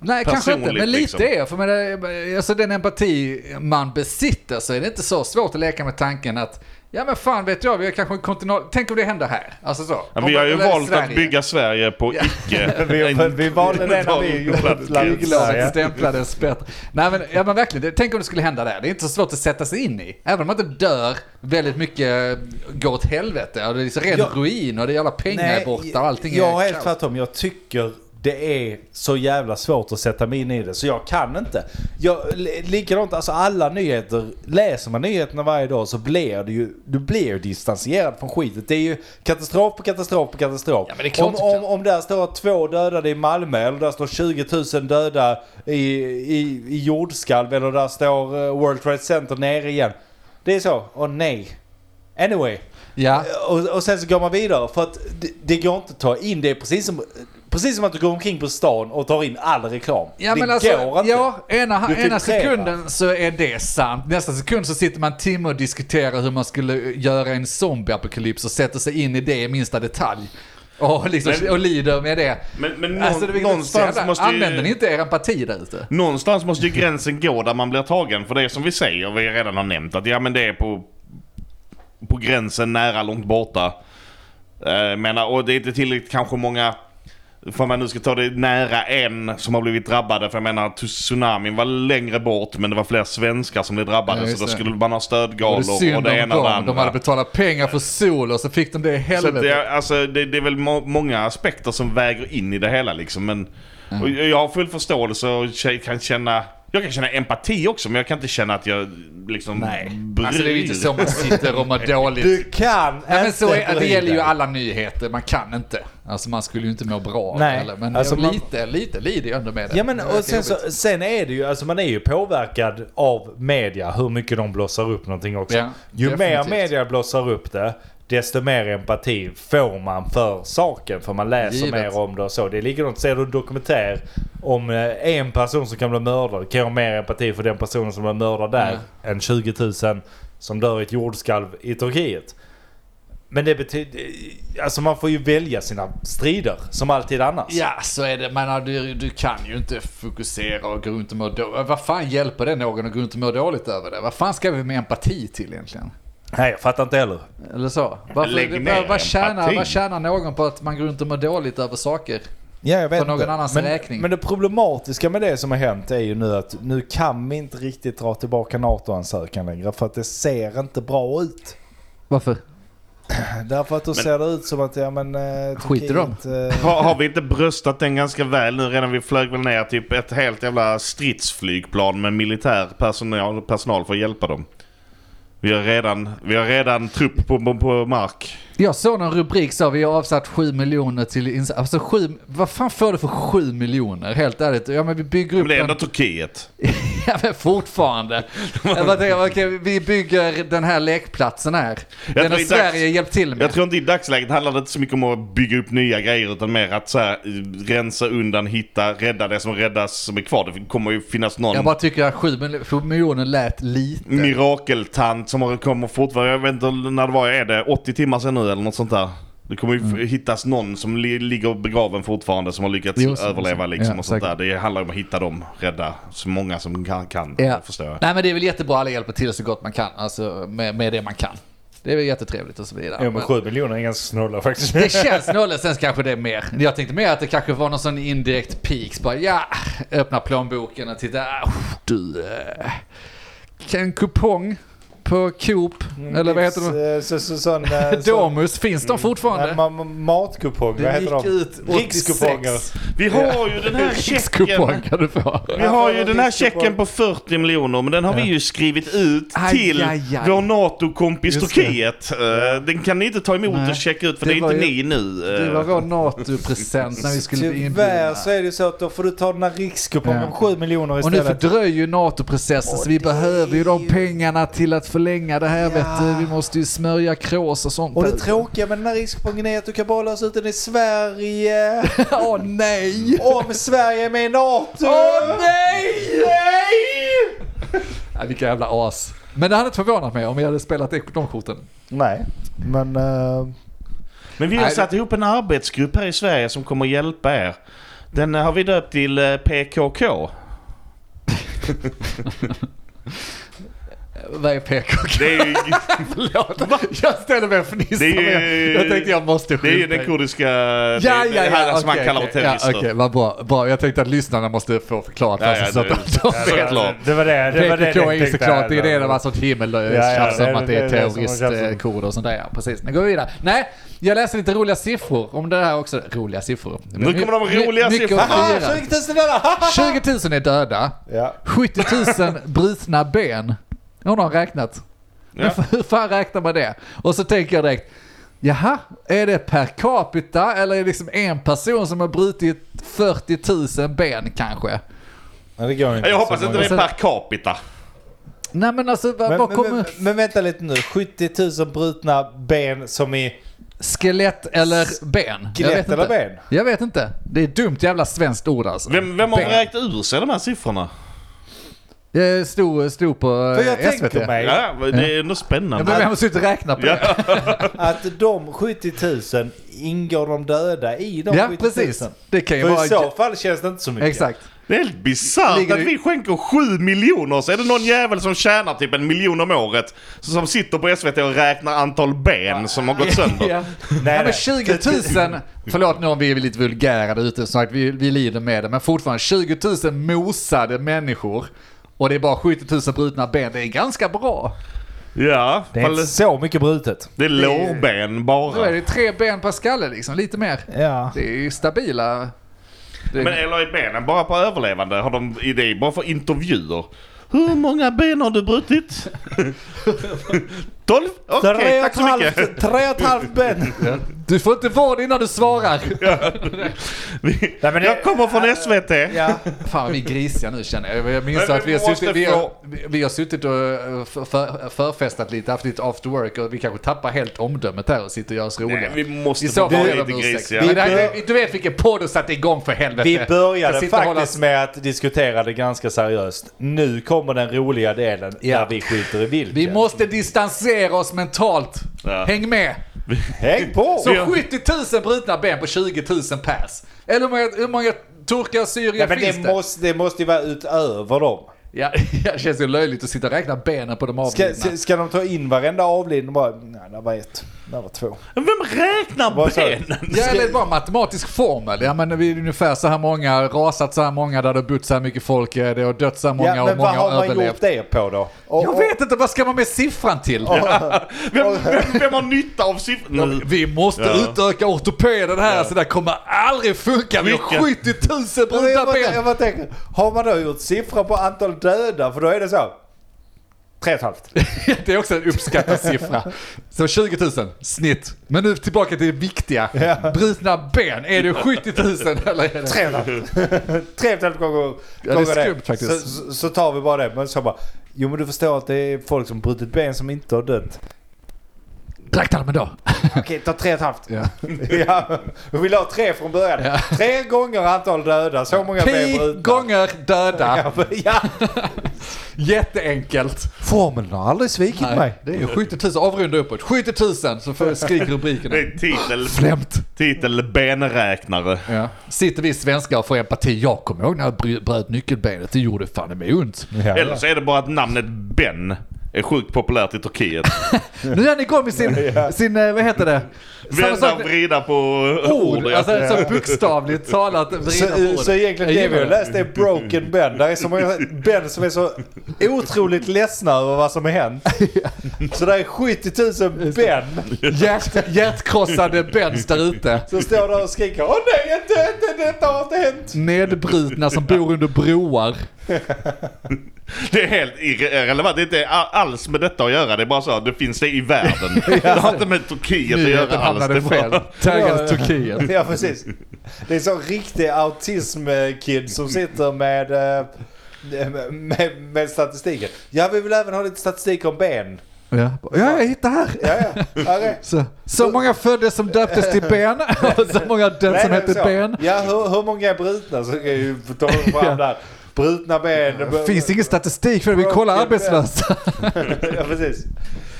[SPEAKER 1] Nej, kanske inte.
[SPEAKER 3] personligt,
[SPEAKER 1] Men lite
[SPEAKER 3] liksom.
[SPEAKER 1] är jag. För med, alltså den empati man besitter så är det inte så svårt att leka med tanken att Ja men fan vet jag, vi har kanske en kontinental... Tänk om det händer här. Alltså så.
[SPEAKER 3] Men vi har ju
[SPEAKER 1] Eller
[SPEAKER 3] valt att
[SPEAKER 1] Sverige.
[SPEAKER 3] bygga Sverige på
[SPEAKER 1] Ja.
[SPEAKER 3] icke...
[SPEAKER 2] Vi, vi valde det när vi gjorde ett land.
[SPEAKER 1] Flyglaget
[SPEAKER 2] Sverige.
[SPEAKER 1] stämplades bättre. Nej men, ja, men verkligen, det- tänk om det skulle hända där. Det är inte så svårt att sätta sig in i. Även om man inte dör, väldigt mycket går åt helvete. Och det är liksom ren
[SPEAKER 2] Ja.
[SPEAKER 1] ruin och det är alla pengar är borta och allting
[SPEAKER 2] jag är
[SPEAKER 1] är
[SPEAKER 2] helt tvärtom. Jag tycker det är så jävla svårt att sätta mig in i det. Så jag kan inte. Jag, li- likadant, alltså alla nyheter. Läser man nyheterna varje dag så blir du ju, du blir ju distanserad från skitet. Det är ju katastrof på katastrof på katastrof.
[SPEAKER 1] Ja, men det är klart
[SPEAKER 2] om,
[SPEAKER 1] du kan.
[SPEAKER 2] om, om där står två dödade i Malmö eller där står 20 000 döda i, i, i jordskalv eller där står eh, World Trade Center nere igen. Det är så. Åh nej. Anyway.
[SPEAKER 1] Ja,
[SPEAKER 2] Och, och sen så går man vidare för att det, det går inte att ta in. Det är precis som, precis som att du går omkring på stan och tar in all reklam.
[SPEAKER 1] ja
[SPEAKER 2] det
[SPEAKER 1] men alltså,
[SPEAKER 2] går inte.
[SPEAKER 1] ja, ena,
[SPEAKER 2] Du
[SPEAKER 1] ena
[SPEAKER 2] filtrerar.
[SPEAKER 1] sekunden så är det sant. Nästa sekund så sitter man en timme och diskuterar hur man skulle göra en zombieapokalyps och sätter sig in i det i minsta detalj. Och, liksom,
[SPEAKER 3] Men-
[SPEAKER 1] och lider med det.
[SPEAKER 3] Men, men någon,
[SPEAKER 1] Alltså, det är
[SPEAKER 3] någonstans måste ju...
[SPEAKER 1] Använder ni inte er empati där ute?
[SPEAKER 3] Någonstans måste ju gränsen gå där man blir tagen. För det är som vi säger, vi redan har nämnt, att ja men det är på, på gränsen nära, långt borta. Eh, menar, och det är inte tillräckligt kanske många, för man nu ska ta det nära en som har blivit drabbade. För jag menar, tsunamin var längre bort men det var fler svenskar som blev drabbade.
[SPEAKER 1] Ja, just
[SPEAKER 3] så då
[SPEAKER 1] det.
[SPEAKER 3] skulle man ha
[SPEAKER 1] Och det är
[SPEAKER 3] stödgalor och,
[SPEAKER 1] synd
[SPEAKER 3] det
[SPEAKER 1] om
[SPEAKER 3] ena och det
[SPEAKER 1] dem.
[SPEAKER 3] andra.
[SPEAKER 1] De hade betalat pengar för sol och så fick de det i
[SPEAKER 3] Så
[SPEAKER 1] helvete.
[SPEAKER 3] att det, alltså, det, det är väl må många aspekter som väger in i det hela liksom. Men
[SPEAKER 1] Mm.
[SPEAKER 3] och jag jag har full förståelse och kä- kan känna... Jag kan känna empati också men jag kan inte känna att jag liksom
[SPEAKER 2] Nej.
[SPEAKER 3] bryr.
[SPEAKER 1] Alltså det är ju inte så man sitter
[SPEAKER 3] *laughs*
[SPEAKER 1] och mår
[SPEAKER 2] Du
[SPEAKER 1] dåligt.
[SPEAKER 2] kan
[SPEAKER 1] Nej, men
[SPEAKER 2] inte
[SPEAKER 1] så är, det
[SPEAKER 2] bry
[SPEAKER 1] gäller ju
[SPEAKER 2] dig.
[SPEAKER 1] alla nyheter, man kan inte. Alltså man skulle ju inte må bra av det
[SPEAKER 2] Nej.
[SPEAKER 1] heller. Men
[SPEAKER 2] Alltså,
[SPEAKER 1] jag-
[SPEAKER 2] man-
[SPEAKER 1] lite, lite lider jag ändå med det.
[SPEAKER 2] Ja men
[SPEAKER 1] Det
[SPEAKER 2] och
[SPEAKER 1] verkar
[SPEAKER 2] sen, så,
[SPEAKER 1] jobbigt.
[SPEAKER 2] sen är det ju, alltså man är ju påverkad av media, hur mycket de blossar upp någonting också.
[SPEAKER 1] Ja,
[SPEAKER 2] ju
[SPEAKER 1] definitivt.
[SPEAKER 2] mer media blossar upp det, desto mer empati får man för saken. För man läser
[SPEAKER 1] Givet.
[SPEAKER 2] mer om det och så. Det är likadant, ser du en dokumentär om eh, en person som kan bli mördad, kan jag ha mer empati för den personen som blir mördad där än 20 000 som dör i ett jordskalv i Turkiet. Men det betyder, alltså man får ju välja sina strider som alltid annars.
[SPEAKER 1] Ja, så är det. Men ja, du, du kan ju inte fokusera och gå runt och må dåligt. Vad fan hjälper det någon att gå runt och må dåligt över det? Vad fan ska vi med empati till egentligen?
[SPEAKER 2] Nej jag fattar inte heller.
[SPEAKER 1] Eller så? Varför,
[SPEAKER 3] Lägg
[SPEAKER 1] vad-
[SPEAKER 3] ner
[SPEAKER 1] vad, tjänar,
[SPEAKER 3] empati.
[SPEAKER 1] vad tjänar någon på att man går runt och mår dåligt över saker?
[SPEAKER 2] Ja, jag vet
[SPEAKER 1] För någon
[SPEAKER 2] inte.
[SPEAKER 1] annans
[SPEAKER 2] men,
[SPEAKER 1] räkning.
[SPEAKER 2] Men det problematiska med det som har hänt är ju nu att nu kan vi inte riktigt dra tillbaka NATO-ansökan längre för att det ser inte bra ut.
[SPEAKER 1] Varför?
[SPEAKER 2] Därför att då ser det ut som att, ja men... Eh,
[SPEAKER 1] Skiter de?
[SPEAKER 2] Turkiet, eh,
[SPEAKER 3] Har, har vi inte bröstat den ganska väl nu redan? Vi flög väl ner typ ett helt jävla stridsflygplan med militär personal, personal för att hjälpa dem. Vi har redan, vi har redan trupp på, på, på mark.
[SPEAKER 1] Jag såg någon rubrik så vi har avsatt 7 miljoner till ins- Alltså 7, vad fan får du för 7 miljoner? Helt ärligt. Ja men vi bygger upp
[SPEAKER 3] Men det är
[SPEAKER 1] en...
[SPEAKER 3] ändå Turkiet.
[SPEAKER 1] *laughs* ja men *laughs* fortfarande. jag bara tänker, okej, vi bygger den här lekplatsen här. Den
[SPEAKER 3] tror
[SPEAKER 1] har
[SPEAKER 3] det är
[SPEAKER 1] Sverige
[SPEAKER 3] dags.
[SPEAKER 1] hjälpt till med.
[SPEAKER 3] Jag tror inte i dagsläget handlar det inte så mycket om att bygga upp nya grejer utan mer att så här, eh, rensa undan, hitta, rädda det som räddas som är kvar. Det kommer ju finnas någon
[SPEAKER 1] Jag bara tycker att 7 mil- 7 miljoner lät lite.
[SPEAKER 3] mirakeltant som har- kommer fortfarande, jag vet inte när det var, är det 80 timmar sedan nu eller något sånt där? Det kommer ju
[SPEAKER 1] Mm.
[SPEAKER 3] f- hittas någon som li ligger begraven fortfarande som har lyckats
[SPEAKER 1] Jo, så-
[SPEAKER 3] överleva liksom
[SPEAKER 1] ja,
[SPEAKER 3] och sånt
[SPEAKER 1] säkert.
[SPEAKER 3] där. Det handlar om att hitta dem, rädda så många som kan, kan
[SPEAKER 1] Ja.
[SPEAKER 3] förstår jag.
[SPEAKER 1] Nej men det är väl jättebra, alla hjälper till så gott man kan. Alltså med, med det man kan. Det är väl jättetrevligt och så vidare.
[SPEAKER 2] Jo men
[SPEAKER 1] Men-
[SPEAKER 2] 7 miljoner är ganska snåla faktiskt.
[SPEAKER 1] Det känns något, sen kanske det är mer. Jag tänkte mer att det kanske var någon sån indirekt peaks. Bara ja, öppna plånboken och titta. Ah, Du, eh, kan en kupong på Coop, eller vad heter de?
[SPEAKER 2] det? Så, så, sån,
[SPEAKER 1] *laughs*
[SPEAKER 2] Mm, eh, sån,
[SPEAKER 1] Domus, finns de fortfarande?
[SPEAKER 2] Nej, ma- ma- matkupong, vad
[SPEAKER 1] det
[SPEAKER 2] heter
[SPEAKER 1] gick
[SPEAKER 2] de?
[SPEAKER 1] ut 86.
[SPEAKER 2] Rikskuponger.
[SPEAKER 3] Vi har ju den här
[SPEAKER 1] Rikskupong
[SPEAKER 3] checken.
[SPEAKER 1] kan du få.
[SPEAKER 3] Vi har ju den här checken på 40 miljoner, men den har vi ju skrivit ut
[SPEAKER 1] Aj,
[SPEAKER 3] till
[SPEAKER 1] aj, aj.
[SPEAKER 3] vår NATO-kompis
[SPEAKER 1] Just
[SPEAKER 3] Turkiet. Eh, Den kan ni inte ta emot
[SPEAKER 1] Nej.
[SPEAKER 3] och checka ut, för
[SPEAKER 1] Det
[SPEAKER 3] det, är
[SPEAKER 1] var
[SPEAKER 3] inte
[SPEAKER 1] ju-
[SPEAKER 3] ni nu.
[SPEAKER 1] Det
[SPEAKER 3] Eh,
[SPEAKER 1] var vår NATO-present när vi skulle bli
[SPEAKER 2] Tyvärr
[SPEAKER 1] inbjudna.
[SPEAKER 2] så är det ju så att då får du ta den här rikskupongen
[SPEAKER 1] Ja.
[SPEAKER 2] om 7 miljoner
[SPEAKER 1] Och nu
[SPEAKER 2] istället.
[SPEAKER 1] fördröjer ju NATO-processen så vi behöver ju de pengarna till att förlänga det här vet du. Vi måste ju smörja krås och sånt.
[SPEAKER 2] Och det tråkiga med den här rikskupongen är att du kan bara lösa ut den i Sverige.
[SPEAKER 1] *laughs* Åh nej!
[SPEAKER 2] Om Sverige är med i NATO!
[SPEAKER 1] Åh nej! Ja, vilka jävla as. Men det hade inte förvånat mig om vi hade spelat de de korten.
[SPEAKER 2] Nej, men... eh,
[SPEAKER 3] Men vi har
[SPEAKER 1] Nej,
[SPEAKER 3] satt ihop en arbetsgrupp här i Sverige som kommer hjälpa er. Den har vi döpt till eh, PKK.
[SPEAKER 1] Vad är PKK?
[SPEAKER 3] Det är ju,
[SPEAKER 1] *laughs* Förlåt, jag ställer mig och fnissar.
[SPEAKER 3] Det är ju-
[SPEAKER 1] men Jag tänkte jag måste
[SPEAKER 3] det är ju
[SPEAKER 1] skjuta. *laughs*
[SPEAKER 3] den kurdiska...
[SPEAKER 1] Ja,
[SPEAKER 3] det,
[SPEAKER 1] ja,
[SPEAKER 3] det här
[SPEAKER 1] ja,
[SPEAKER 3] som man
[SPEAKER 1] okej,
[SPEAKER 3] kallar för
[SPEAKER 1] okej. ja,
[SPEAKER 3] terrorister.
[SPEAKER 1] Okej, vad bra, bra. Jag tänkte att lyssnarna måste få förklarat
[SPEAKER 3] Ja,
[SPEAKER 1] vad som
[SPEAKER 3] ja,
[SPEAKER 1] så att
[SPEAKER 3] det-
[SPEAKER 1] *laughs* de
[SPEAKER 3] ja,
[SPEAKER 1] vet.
[SPEAKER 3] klart.
[SPEAKER 2] Det var det. Det var det
[SPEAKER 1] PKK är
[SPEAKER 2] jag
[SPEAKER 1] ju
[SPEAKER 2] tänkte
[SPEAKER 1] såklart,
[SPEAKER 2] här.
[SPEAKER 1] det är det det var sånt
[SPEAKER 2] Ja, ja,
[SPEAKER 1] himmeltjafs
[SPEAKER 2] det är-
[SPEAKER 1] om att det
[SPEAKER 2] det är
[SPEAKER 1] är
[SPEAKER 2] det som var tjafsen.
[SPEAKER 1] terroristkurder och sånt där. Ja, precis. Nu går vi vidare. Nej, jag läste lite roliga siffror om det här också. Roliga siffror.
[SPEAKER 3] Nu kommer de roliga Ah,
[SPEAKER 1] Mycket
[SPEAKER 3] siffrorna.
[SPEAKER 1] att
[SPEAKER 2] Aha,
[SPEAKER 1] fira.
[SPEAKER 2] 20 000 dollar!
[SPEAKER 1] 20 000 är döda.
[SPEAKER 2] Ja.
[SPEAKER 1] 70 000 brutna ben. Hon har räknat. Men
[SPEAKER 3] Ja.
[SPEAKER 1] *laughs* hur fan räknar man det? Och så tänker jag direkt, jaha, är det per capita eller är det liksom en person som har brutit 40 000 ben kanske?
[SPEAKER 2] Nej, det går inte.
[SPEAKER 3] Jag hoppas
[SPEAKER 2] Så
[SPEAKER 3] inte
[SPEAKER 2] många-
[SPEAKER 3] det
[SPEAKER 1] sen-
[SPEAKER 3] är per capita.
[SPEAKER 1] Nej men alltså, vad,
[SPEAKER 2] Men,
[SPEAKER 1] vad
[SPEAKER 2] men,
[SPEAKER 1] kommer
[SPEAKER 2] men, men vänta lite nu. 70 000 brutna ben som i...
[SPEAKER 1] skelett eller ben? Jag vet
[SPEAKER 2] Skelett eller
[SPEAKER 1] inte.
[SPEAKER 2] ben?
[SPEAKER 1] Jag vet inte. Det är ett dumt jävla svenskt ord alltså.
[SPEAKER 3] Vem, vem har
[SPEAKER 1] Ben.
[SPEAKER 3] räknat ur sig de här siffrorna?
[SPEAKER 1] Jag stod, stod på
[SPEAKER 2] För jag
[SPEAKER 1] eh, SVT.
[SPEAKER 2] tänker mig
[SPEAKER 3] Ja, det är ändå
[SPEAKER 1] Ja,
[SPEAKER 3] spännande.
[SPEAKER 1] men vem har suttit och räknat på det?
[SPEAKER 3] Ja.
[SPEAKER 2] att de 70 000 ingår de döda i de
[SPEAKER 1] Ja,
[SPEAKER 2] 70 000.
[SPEAKER 1] precis. Det kan ju
[SPEAKER 2] För i så
[SPEAKER 1] vara...
[SPEAKER 2] fall känns det inte så mycket.
[SPEAKER 1] Exakt.
[SPEAKER 3] Det är helt bisarrt
[SPEAKER 1] Ligger
[SPEAKER 3] att
[SPEAKER 1] i-
[SPEAKER 3] vi skänker 7 miljoner så är det någon jävel som tjänar typ en miljon om året som sitter på SVT och räknar antal ben som har gått sönder.
[SPEAKER 1] Ja.
[SPEAKER 2] Nej,
[SPEAKER 1] ja, men
[SPEAKER 2] nej.
[SPEAKER 1] 20 000, förlåt nu om vi är lite vulgära där ute, som sagt, vi, vi lider med det, men fortfarande 20 000 mosade människor och det är bara 70 000 brutna ben, det är ganska bra.
[SPEAKER 3] Ja,
[SPEAKER 2] Det är
[SPEAKER 3] fall-
[SPEAKER 2] inte så mycket brutet.
[SPEAKER 3] det är lårben
[SPEAKER 1] Då är
[SPEAKER 3] bara.
[SPEAKER 1] det tre ben per skalle liksom, lite mer.
[SPEAKER 2] Ja.
[SPEAKER 1] Det är ju stabila... Det,
[SPEAKER 3] Men eh, eller är benen bara på överlevande? Har de i det bara för intervjuer? Hur många ben har du
[SPEAKER 1] *laughs*
[SPEAKER 3] brutit? 12? Okej,
[SPEAKER 2] Tre och
[SPEAKER 3] tack
[SPEAKER 2] ett
[SPEAKER 3] så mycket.
[SPEAKER 2] halvt- tre och ett halvt ben.
[SPEAKER 1] Du får inte vård innan
[SPEAKER 3] *laughs*
[SPEAKER 1] du svarar!
[SPEAKER 3] *laughs* Vi-
[SPEAKER 2] Nej, men det-
[SPEAKER 3] Jag kommer från SVT.
[SPEAKER 2] Ja.
[SPEAKER 1] Fan vad vi är grisiga nu känner jag. Jag minns
[SPEAKER 3] Men
[SPEAKER 1] att vi har,
[SPEAKER 3] vi måste
[SPEAKER 1] suttit, vi, har,
[SPEAKER 3] få-
[SPEAKER 1] vi har suttit och eh, för- för, förfestat lite, haft lite after work och vi kanske tappar helt omdömet här och sitter och gör oss roliga.
[SPEAKER 3] Nej, vi måste
[SPEAKER 1] I så
[SPEAKER 3] få
[SPEAKER 1] fall
[SPEAKER 3] vara
[SPEAKER 1] är de
[SPEAKER 3] lite
[SPEAKER 1] ursäkt.
[SPEAKER 3] grisiga.
[SPEAKER 1] Men
[SPEAKER 2] Vi
[SPEAKER 1] det här-
[SPEAKER 2] bör-
[SPEAKER 1] Du vet vilken podd du satte igång för helvete.
[SPEAKER 2] Vi
[SPEAKER 1] Jag
[SPEAKER 2] började
[SPEAKER 1] sitter och håller-
[SPEAKER 2] faktiskt med att diskutera det ganska seriöst. Nu kommer den roliga delen
[SPEAKER 1] Ja.
[SPEAKER 2] där vi skiter i vilken.
[SPEAKER 1] Vi måste distansera oss mentalt.
[SPEAKER 3] Ja.
[SPEAKER 1] Häng med!
[SPEAKER 2] Häng på!
[SPEAKER 1] Så
[SPEAKER 3] Vi har-
[SPEAKER 1] 70 000 brutna ben på 20 000 pers. Eller hur många, hur många turkar och
[SPEAKER 2] Nej,
[SPEAKER 1] syrier
[SPEAKER 2] men
[SPEAKER 1] finns
[SPEAKER 2] det
[SPEAKER 1] det?
[SPEAKER 2] måste, det måste ju vara utöver dem.
[SPEAKER 1] Ja, *laughs* det känns ju löjligt att sitta och räkna benen på de
[SPEAKER 2] Ska,
[SPEAKER 1] avlidna.
[SPEAKER 2] ska, ska de ta in varenda avliden och bara... Nej, det var ett. Det var två.
[SPEAKER 3] Vem räknar
[SPEAKER 2] Vad sa du?
[SPEAKER 3] benen?
[SPEAKER 1] Ja, eller bara en matematisk formel. Ja, men vi är ungefär så här många, rasat så här många, där det har bott så här mycket folk, eh, det har dött så här många
[SPEAKER 2] ja,
[SPEAKER 1] och
[SPEAKER 2] men
[SPEAKER 1] många
[SPEAKER 2] vad har
[SPEAKER 1] har
[SPEAKER 2] man
[SPEAKER 1] överlevt.
[SPEAKER 2] gjort det på då? Och,
[SPEAKER 1] Jag vet inte, vad ska man med siffran till?
[SPEAKER 3] Vem, vem, vem har nytta av siffrorna?
[SPEAKER 1] Vi måste
[SPEAKER 3] Mm. Ja.
[SPEAKER 1] utöka ortopeden här, så det här kommer aldrig funka. Vi har
[SPEAKER 3] Vilka?
[SPEAKER 1] 70 000
[SPEAKER 2] Och, och, jag,
[SPEAKER 1] brutna
[SPEAKER 2] bara, jag
[SPEAKER 1] ben.
[SPEAKER 2] bara tänker, har man då gjort siffror på antal döda? För då är det så. Tre och ett halvt.
[SPEAKER 1] *laughs* Det är också en uppskattad siffra. Så 20 000, snitt. Men nu tillbaka till det viktiga. Brutna ben, är det 70
[SPEAKER 2] *laughs*
[SPEAKER 1] 000 eller är det...
[SPEAKER 2] Tre och
[SPEAKER 1] *laughs*
[SPEAKER 2] ett halvt. *laughs* Tre och ett halvt gånger
[SPEAKER 1] Ja, det är
[SPEAKER 2] gånger
[SPEAKER 1] skumt faktiskt.
[SPEAKER 2] Så, så, så tar vi bara det. Men så bara, jo men du förstår att det är folk som brutit ben som inte har dött.
[SPEAKER 1] Räkna dem ändå.
[SPEAKER 2] *laughs* Okej, ta tre och ett halvt.
[SPEAKER 1] Ja.
[SPEAKER 2] *laughs* Ja, vi vill ha tre från början. Tre gånger antal döda, så många ben
[SPEAKER 1] Pi
[SPEAKER 2] brutna.
[SPEAKER 1] gånger döda.
[SPEAKER 2] Ja, *laughs* ja.
[SPEAKER 1] Jätteenkelt.
[SPEAKER 2] Formeln har aldrig svikit mig.
[SPEAKER 1] det är ju 70 000. Avrunda uppåt. 70 000 så får skriker rubrikerna.
[SPEAKER 3] Det är titel,
[SPEAKER 1] Flämt.
[SPEAKER 3] titel benräknare.
[SPEAKER 1] Ja. Sitter vi svenskar och får empati. Jag kommer ihåg när jag bry- bröt nyckelbenet. Det gjorde fan i mig ont.
[SPEAKER 2] Ja.
[SPEAKER 3] Eller så är det bara att namnet Ben är sjukt populärt i Turkiet.
[SPEAKER 1] Nu är han igång med sin, sin eh, vad heter det? Samma
[SPEAKER 3] Vända
[SPEAKER 1] sak
[SPEAKER 3] och vrida på ord.
[SPEAKER 1] ord,
[SPEAKER 3] ja.
[SPEAKER 1] alltså så bokstavligt talat vrida på
[SPEAKER 2] Så,
[SPEAKER 1] ord.
[SPEAKER 2] så egentligen
[SPEAKER 1] Jag
[SPEAKER 2] det vi
[SPEAKER 1] gillar
[SPEAKER 2] har läst är Broken Ben. Där är
[SPEAKER 1] *laughs*
[SPEAKER 2] så många Ben som är så otroligt ledsna över vad som
[SPEAKER 1] *laughs*
[SPEAKER 2] har hänt. Så där är 70 000 Ben
[SPEAKER 1] Hjärt, hjärtkrossade Bens där ute.
[SPEAKER 2] som står där och skriker Åh nej, inte, inte, detta har inte hänt.
[SPEAKER 1] Nedbrutna som bor under broar.
[SPEAKER 3] Det är helt irre- irrelevant. Det är inte a- alls med detta att göra. Det är bara så. Det finns det i
[SPEAKER 1] *laughs*
[SPEAKER 3] världen. Det har inte med Turkiet att göra
[SPEAKER 1] Nyheten
[SPEAKER 3] alls.
[SPEAKER 1] hamnade
[SPEAKER 3] Det är
[SPEAKER 1] fel.
[SPEAKER 3] bara...
[SPEAKER 1] Taggades Turkiet.
[SPEAKER 2] Ja, precis. Det är så riktig autism-kid som sitter med, eh, med, med statistiken. Ja, vi vill även ha lite statistik om ben.
[SPEAKER 1] Ja, ja jag hittar här.
[SPEAKER 2] Ja, ja. Här är-
[SPEAKER 1] Så, så många föddes som döptes till
[SPEAKER 2] *laughs*
[SPEAKER 1] Ben och så många döptes som
[SPEAKER 2] Nej, det är
[SPEAKER 1] hette
[SPEAKER 2] så.
[SPEAKER 1] Ben.
[SPEAKER 2] Ja, hur, hur många är brutna? Så kan jag ju ta fram
[SPEAKER 1] Ja.
[SPEAKER 2] där. Brutna ben.
[SPEAKER 1] Det finns ingen statistik för det. Vi kollar
[SPEAKER 2] Broken Ben.
[SPEAKER 1] arbetslösa.
[SPEAKER 2] Ja, precis.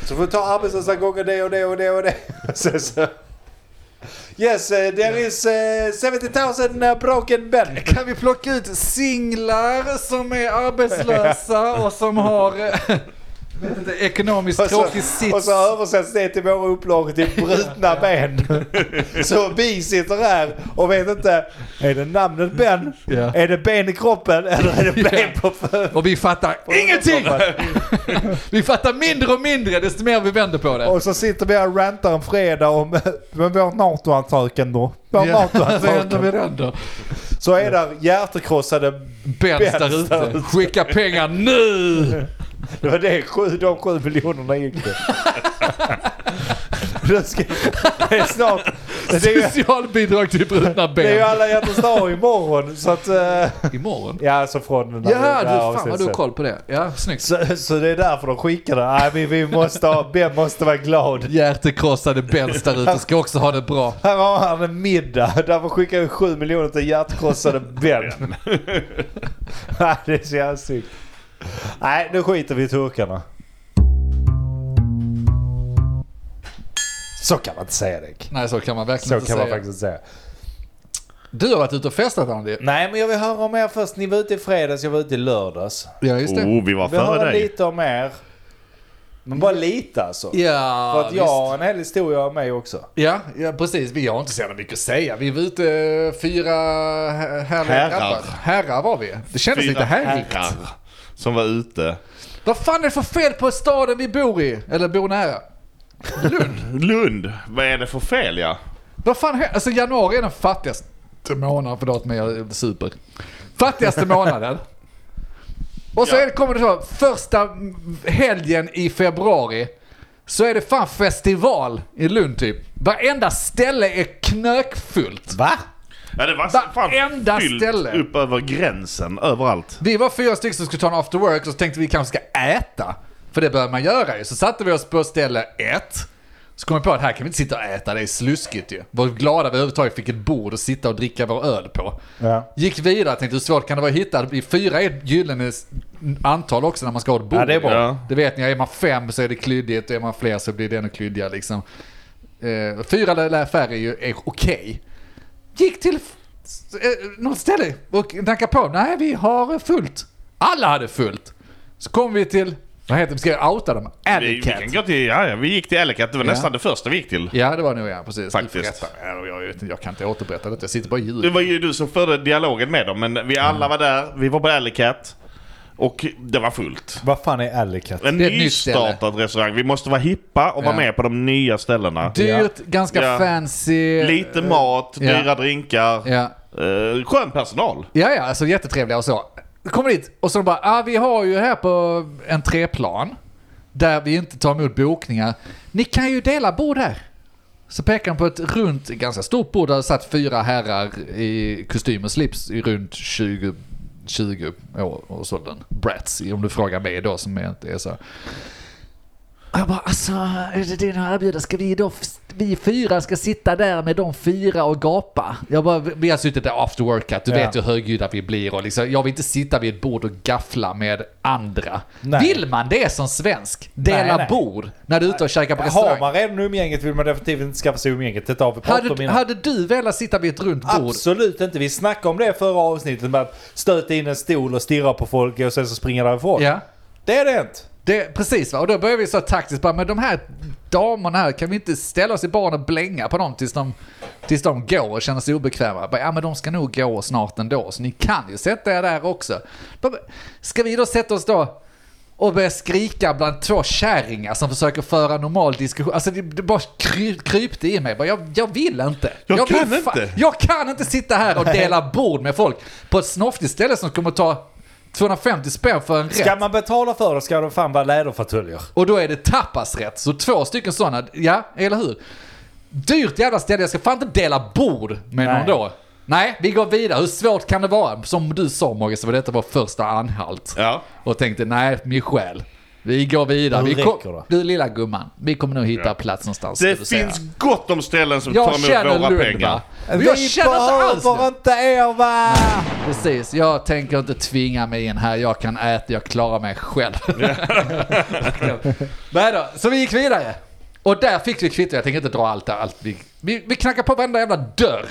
[SPEAKER 2] Så får vi ta arbetslösa gånger det och det och det *laughs* och det. Så, så. Yes, eh, there is eh, 70 000 eh, broken ben.
[SPEAKER 1] Kan vi plocka ut singlar som är arbetslösa och som har eh, vet inte, ekonomiskt
[SPEAKER 2] Och så,
[SPEAKER 1] tråkig
[SPEAKER 2] och
[SPEAKER 1] sits?
[SPEAKER 2] så översätts det till våra upplagor till brutna
[SPEAKER 1] *laughs*
[SPEAKER 2] ben. Så vi sitter här och vet inte, är det namnet Ben?
[SPEAKER 1] Ja.
[SPEAKER 2] Är det ben i kroppen eller är det ben på fötterna?
[SPEAKER 1] Och vi fattar ingenting! Vi fattar mindre och mindre desto mer vi vänder på det.
[SPEAKER 2] Och så sitter vi här och rantar en fredag om men vår NATO-ansökan då. Vår
[SPEAKER 1] *laughs* Ja, så ändå vi
[SPEAKER 2] NATO-ansökan.
[SPEAKER 1] vänder.
[SPEAKER 2] Så är där hjärtekrossade,
[SPEAKER 1] Bens
[SPEAKER 2] Bens
[SPEAKER 1] där
[SPEAKER 2] där
[SPEAKER 1] ute. Skicka pengar nu!
[SPEAKER 2] det var det sju, de sju miljonerna gick
[SPEAKER 1] *laughs*
[SPEAKER 2] till. Det ska- Det är snart, det är ju,
[SPEAKER 1] Socialbidrag till brutna
[SPEAKER 2] det är ju
[SPEAKER 1] ben.
[SPEAKER 2] alla hjärtans dag imorgon så att... eh,
[SPEAKER 1] Imorgon?
[SPEAKER 2] Ja, alltså från den
[SPEAKER 1] Ja, du, fan vad
[SPEAKER 2] avsnittet.
[SPEAKER 1] du har koll på det. Ja, snyggt.
[SPEAKER 2] Så, så det är därför de skickar det. Nej, vi, vi måste ha, Ben måste vara glad.
[SPEAKER 1] Hjärtekrossade Bens där ute ska också ha det bra.
[SPEAKER 2] Här har han en middag. Därför skickar vi 7 miljoner till hjärtkrossade
[SPEAKER 1] *laughs*
[SPEAKER 2] Ben. *laughs* Nej, det är så jävla snyggt. Nej, nu skiter vi i turkarna. Så kan man inte säga Dick.
[SPEAKER 1] Nej, så kan man
[SPEAKER 2] Så
[SPEAKER 1] verkligen
[SPEAKER 2] kan
[SPEAKER 1] inte
[SPEAKER 2] man
[SPEAKER 1] säga.
[SPEAKER 2] faktiskt inte säga.
[SPEAKER 1] Du har varit ute och festat Andy.
[SPEAKER 2] Nej, men jag vill höra om er först. Ni var ute i fredags, jag var ute i lördags.
[SPEAKER 1] Ja, just det.
[SPEAKER 3] Oh, vi var
[SPEAKER 2] Vi
[SPEAKER 3] före
[SPEAKER 2] höra
[SPEAKER 3] dig.
[SPEAKER 2] lite om er. Men bara lite alltså.
[SPEAKER 1] Ja,
[SPEAKER 2] För att jag
[SPEAKER 1] visst.
[SPEAKER 2] har en hel historia om mig också.
[SPEAKER 1] ja, ja, precis. Vi har inte så jävla mycket att säga. Vi var ute eh, fyra här- härliga
[SPEAKER 3] Herrar.
[SPEAKER 1] grabbar. Herrar var vi. Det kändes lite
[SPEAKER 3] Fyra
[SPEAKER 1] härligt.
[SPEAKER 3] herrar som var ute.
[SPEAKER 1] Vad fan är det för fel på staden vi bor i? Eller bor nära?
[SPEAKER 3] Lund, vad är det för fel ja?
[SPEAKER 1] Vad fan hä- Alltså januari är den fattigaste månaden. Förlåt mig, jag super.
[SPEAKER 3] *laughs*
[SPEAKER 1] Fattigaste månaden. Och så
[SPEAKER 3] Ja.
[SPEAKER 1] är det- kommer det så, första helgen i februari så är det fan festival i Lund typ. Varenda ställe är knökfullt.
[SPEAKER 2] Va?
[SPEAKER 3] Ja, det var
[SPEAKER 1] Varenda
[SPEAKER 3] fan fyllt
[SPEAKER 1] ställe.
[SPEAKER 3] upp över gränsen överallt.
[SPEAKER 1] Vi var fyra stycken som skulle ta en after work och så tänkte vi kanske ska äta. För det började man göra ju. Så satte vi oss på ställe ett. Så kom vi på att här kan vi inte sitta och äta, det är sluskigt ju. Var glada vi överhuvudtaget fick ett bord att sitta och dricka vår öl på.
[SPEAKER 2] Ja.
[SPEAKER 1] Gick vidare, tänkte hur svårt kan det vara att hitta? I fyra är ett gyllene s- antal också när man ska ha ett bord.
[SPEAKER 2] Ja, det är bra.
[SPEAKER 3] Ja.
[SPEAKER 1] Det vet ni, är man fem så är det klyddigt och är man fler så blir det ännu klyddigare liksom. Eh, fyra eller färre är ju är okej. Gick till f- s- eh, något ställe och knackade på. Nej, vi har fullt. Alla hade fullt. Så kom vi till, vad heter det, ska jag outa dem?
[SPEAKER 3] Vi, vi,
[SPEAKER 1] Alleycat.
[SPEAKER 3] kan gå till, ja, ja, vi gick till Ellicat, det var
[SPEAKER 1] Ja.
[SPEAKER 3] nästan det första vi gick till.
[SPEAKER 1] Ja, det var nog ja, precis. Du får
[SPEAKER 3] Faktiskt.
[SPEAKER 1] rätta mig. Jag, vet inte, jag kan inte återberätta detta, jag sitter bara i
[SPEAKER 3] Det
[SPEAKER 1] ljudet.
[SPEAKER 3] var ju du som förde dialogen med dem, men
[SPEAKER 1] Mm.
[SPEAKER 3] vi alla var där, vi var på Ellicat och det var fullt.
[SPEAKER 2] Vad fan är Alicat?
[SPEAKER 3] En
[SPEAKER 1] Det är ett nytt
[SPEAKER 3] nystartad restaurang. Vi måste vara hippa och vara
[SPEAKER 1] Ja.
[SPEAKER 3] med på de nya ställena.
[SPEAKER 1] Dyrt, ganska
[SPEAKER 3] Ja.
[SPEAKER 1] fancy.
[SPEAKER 3] Lite mat,
[SPEAKER 1] ja.
[SPEAKER 3] dyra drinkar,
[SPEAKER 1] Ja.
[SPEAKER 3] eh, skön personal.
[SPEAKER 1] Ja, ja, alltså jättetrevliga och så. Kommer dit och så de bara, ah, vi har ju här på en treplan där vi inte tar emot bokningar. Ni kan ju dela bord här. Så pekar han på ett runt, ganska stort bord där det satt fyra herrar i kostym och slips i runt 20, 20 år och sådant. Brats, om du frågar mig då som jag inte är så. Och jag bara, alltså är det det ni har erbjudit? Ska vi då, vi fyra ska sitta där med de fyra och gapa? Jag bara, vi har suttit där after workout, du
[SPEAKER 2] Ja.
[SPEAKER 1] vet ju hur högljudda vi blir och liksom, jag vill inte sitta vid ett bord och gaffla med andra.
[SPEAKER 2] Nej.
[SPEAKER 1] Vill man det som svensk? Dela
[SPEAKER 2] Nej, nej.
[SPEAKER 1] bord när du är ute och käkar på
[SPEAKER 2] Har
[SPEAKER 1] restaurang?
[SPEAKER 2] man redan umgänget vill man definitivt inte skaffa sig umgänget. Detta har vi pratat om
[SPEAKER 1] Hade,
[SPEAKER 2] innan.
[SPEAKER 1] hade du velat sitta vid ett runt bord?
[SPEAKER 2] Absolut inte. Vi snackade om det förra avsnittet med att stöta in en stol och stirra på folk och sen så springa därifrån.
[SPEAKER 1] Ja.
[SPEAKER 2] Det är det inte.
[SPEAKER 1] Det, precis va, och då börjar vi så taktiskt bara, men de här damerna här, kan vi inte ställa oss i baren och blänga på dem tills de, tills de går och känner sig obekväma? Bara, ja men de ska nog gå snart ändå, så ni kan ju sätta er där också. Bara, Ska vi då sätta oss då och börja skrika bland två kärringar som försöker föra normal diskussion? Alltså det, det bara kry, krypte i mig, bara, jag, jag vill inte.
[SPEAKER 3] Jag
[SPEAKER 1] vill
[SPEAKER 3] kan
[SPEAKER 1] fa-
[SPEAKER 3] inte.
[SPEAKER 1] jag kan inte sitta här och dela bord med folk på ett snoftigt ställe som kommer ta 250 spänn för en
[SPEAKER 2] Ska
[SPEAKER 1] rätt.
[SPEAKER 2] man betala för det ska de fan vara läderfåtöljer.
[SPEAKER 1] Och då är det tapasrätt. Så två stycken sådana, ja, eller hur? Dyrt jävla ställe, jag ska fan inte dela bord med
[SPEAKER 2] Nej.
[SPEAKER 1] någon då. Nej, vi går vidare. Hur svårt kan det vara? Som du sa Mogge, så var detta vår första anhalt.
[SPEAKER 3] Ja.
[SPEAKER 1] Och tänkte, nej, min själ. Vi går vidare.
[SPEAKER 2] Hur
[SPEAKER 1] Vi
[SPEAKER 2] räcker det?
[SPEAKER 1] du lilla gumman, vi kommer nog hitta plats någonstans.
[SPEAKER 3] Det
[SPEAKER 1] ska du säga.
[SPEAKER 3] finns gott om ställen som
[SPEAKER 1] jag
[SPEAKER 3] tar
[SPEAKER 1] känner
[SPEAKER 3] emot våra
[SPEAKER 1] lugn,
[SPEAKER 3] pengar.
[SPEAKER 1] va? Och Jag känner inte alls nu.
[SPEAKER 2] behöver inte er va!
[SPEAKER 1] Precis, jag tänker inte tvinga mig in här. Jag kan äta, jag klarar
[SPEAKER 3] *laughs*
[SPEAKER 1] mig själv. *laughs* Nej då, så vi gick vidare. Och där fick vi kvitto. Jag tänker inte dra allt där. Allt. Vi, vi, vi knackade på varenda jävla dörr.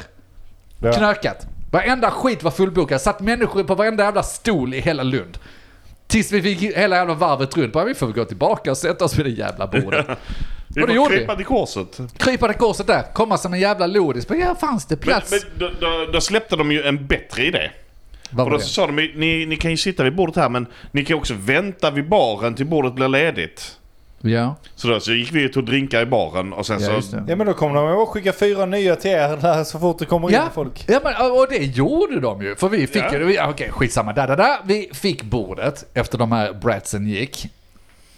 [SPEAKER 2] Ja.
[SPEAKER 1] Knökat. Varenda skit var fullbokat. Satt människor på varenda jävla stol i hela Lund. Tills vi fick hela jävla varvet runt. Bara, vi får väl gå tillbaka och sätta oss vid det jävla bordet.
[SPEAKER 3] Vi
[SPEAKER 1] Och det
[SPEAKER 3] får
[SPEAKER 1] gjorde vi.
[SPEAKER 3] krypa till korset.
[SPEAKER 1] Krypa det korset där. Komma som en jävla lodis. Bara, ja, fanns det
[SPEAKER 3] Men,
[SPEAKER 1] plats?
[SPEAKER 3] men då, då, då släppte de ju en bättre idé.
[SPEAKER 1] Vad
[SPEAKER 3] Och då
[SPEAKER 1] var det?
[SPEAKER 3] sa de ju, ni, ni kan ju sitta vid bordet här men ni kan också vänta vid baren till bordet blir ledigt.
[SPEAKER 1] Ja,
[SPEAKER 3] Så då så gick vi och tog drinkar i baren och sen
[SPEAKER 1] ja just
[SPEAKER 3] så...
[SPEAKER 1] det.
[SPEAKER 2] Ja men då kommer de att skicka fyra nya till er där så fort det kommer in folk.
[SPEAKER 1] Ja, men, och det gjorde de ju. För vi fick
[SPEAKER 3] Ja.
[SPEAKER 1] ju, vi- okej skitsamma, där, där, där. Vi fick bordet efter de här bratsen gick.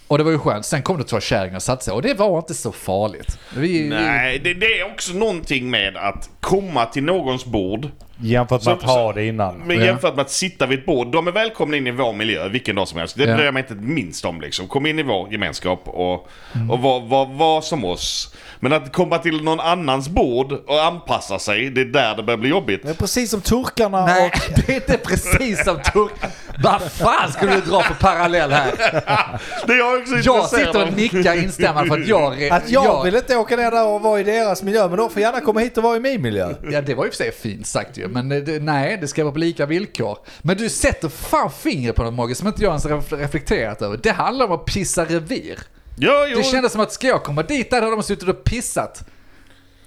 [SPEAKER 1] Och det var ju skönt. Sen kom det två kärringar och satte sig och det var inte så farligt. Vi,
[SPEAKER 3] Nej, det, det är också någonting med att komma till någons bord.
[SPEAKER 2] Jämfört med
[SPEAKER 3] Så-
[SPEAKER 2] att ha det innan.
[SPEAKER 3] Men
[SPEAKER 1] Ja.
[SPEAKER 3] jämfört med att sitta vid ett bord. De är välkomna in i vår miljö vilken dag som helst. Det
[SPEAKER 1] Ja.
[SPEAKER 3] bryr jag mig inte ett minst om liksom. Kom in i vår gemenskap och,
[SPEAKER 1] Mm.
[SPEAKER 3] och var, var, var som oss. Men att komma till någon annans bord och anpassa sig, det är där det börjar bli jobbigt.
[SPEAKER 2] Det är precis som turkarna
[SPEAKER 1] Nej,
[SPEAKER 2] och...
[SPEAKER 1] det är inte precis som turk... Vad fan skulle du dra för parallell här?
[SPEAKER 3] *laughs* Det är jag också
[SPEAKER 1] Jag
[SPEAKER 3] intresserad
[SPEAKER 1] sitter
[SPEAKER 3] av.
[SPEAKER 1] och nickar instämmande för att jag...
[SPEAKER 2] Att jag, vill inte åka ner där och vara i deras miljö, men de får gärna komma hit och vara i min miljö.
[SPEAKER 1] Ja, det var ju för sig fint sagt ju. Men eh, det, nej, det ska vara på lika villkor. Men du sätter fan fingret på något, Mogge, som inte jag ens ref- reflekterat över. Det handlar om att pissa revir.
[SPEAKER 3] Ja, jo.
[SPEAKER 1] Det kändes som att ska jag komma dit där har de suttit och pissat.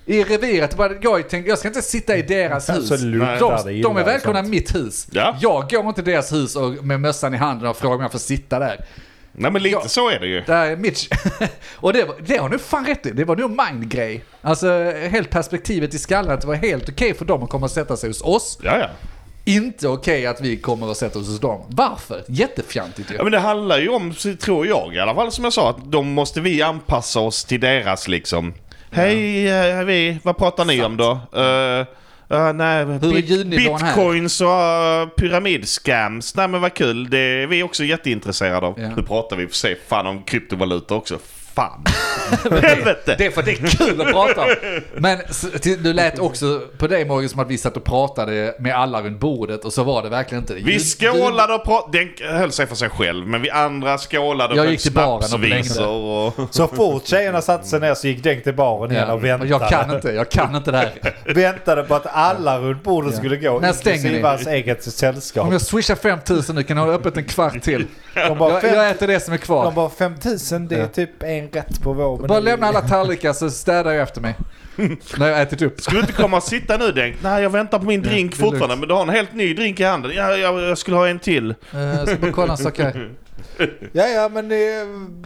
[SPEAKER 1] I reviret. Bara, Jag tänkte jag ska inte sitta i deras hus.
[SPEAKER 2] Så luktar det
[SPEAKER 1] de,
[SPEAKER 2] illa
[SPEAKER 1] de är
[SPEAKER 2] och
[SPEAKER 1] välkomna i
[SPEAKER 2] sånt.
[SPEAKER 1] mitt hus.
[SPEAKER 3] Ja.
[SPEAKER 1] Jag går inte till deras hus och, med mössan i handen och frågar om jag får sitta där.
[SPEAKER 3] Nej men lite
[SPEAKER 1] Ja.
[SPEAKER 3] så är det ju.
[SPEAKER 1] Där är Mitch. *laughs* och det, var, det har du fan rätt i. Det var nog mind-grej. Alltså helt perspektivet i skallen att det var helt okej för dem att komma och sätta sig hos oss.
[SPEAKER 3] Ja, ja.
[SPEAKER 1] Inte okej att vi kommer och sätter oss hos dem. Varför? Jättefjantigt ju.
[SPEAKER 3] Ja, men det handlar ju om, så tror jag i alla fall, som jag sa, att de måste vi anpassa oss till deras liksom. Hej, eh, här är vi, vad pratar ni om då? Eh, eh, nej,
[SPEAKER 1] Hur är ljudnivån här?
[SPEAKER 3] bitcoins och uh, pyramidschams. Nej men vad kul, det är vi också jätteintresserade av.
[SPEAKER 1] Ja.
[SPEAKER 3] Nu pratar vi för sig fan om kryptovalutor också.
[SPEAKER 1] *laughs*
[SPEAKER 3] Fan. Helvete.
[SPEAKER 1] Det är för att det är kul att prata om. Men s- till- du lät också på dig Morgan som att vi satt och pratade med alla runt bordet och så var det verkligen inte det.
[SPEAKER 3] Vi
[SPEAKER 1] Du-
[SPEAKER 3] skålade och pratade, den höll sig för sig själv, men vi andra skålade
[SPEAKER 1] Jag
[SPEAKER 3] sjöng
[SPEAKER 1] gick till baren och blängde.
[SPEAKER 3] snapsvisor och...
[SPEAKER 2] Så fort tjejerna satte sig ner så gick Denk till baren
[SPEAKER 1] du-
[SPEAKER 2] igen
[SPEAKER 1] Ja,
[SPEAKER 2] och väntade.
[SPEAKER 1] jag kan inte, jag kan inte det här.
[SPEAKER 2] Väntade på att alla runt bordet skulle gå,
[SPEAKER 1] När stänger
[SPEAKER 2] inklusive
[SPEAKER 1] ni?
[SPEAKER 2] hans eget sällskap.
[SPEAKER 1] Om jag swishar 5000 nu kan jag ha öppet en kvart till.
[SPEAKER 2] De bara,
[SPEAKER 1] Jag,
[SPEAKER 2] fem,
[SPEAKER 1] jag äter det som är
[SPEAKER 2] de
[SPEAKER 1] kvar.
[SPEAKER 2] bara 5000 det är
[SPEAKER 1] Ja.
[SPEAKER 2] typ en rätt på vår
[SPEAKER 1] Bara
[SPEAKER 2] meny."
[SPEAKER 1] lämna alla tallrikar så städar jag efter mig. När jag har ätit upp.
[SPEAKER 3] Ska du inte komma och sitta nu Denk? Nej, jag väntar på min drink
[SPEAKER 1] det är
[SPEAKER 3] fortfarande.
[SPEAKER 1] lugnt.
[SPEAKER 3] Men du har en helt ny drink i handen. Ja, jag, jag skulle ha en till.
[SPEAKER 1] Eh, Så bara kolla en sak här.
[SPEAKER 2] Ja, ja, men eh, det...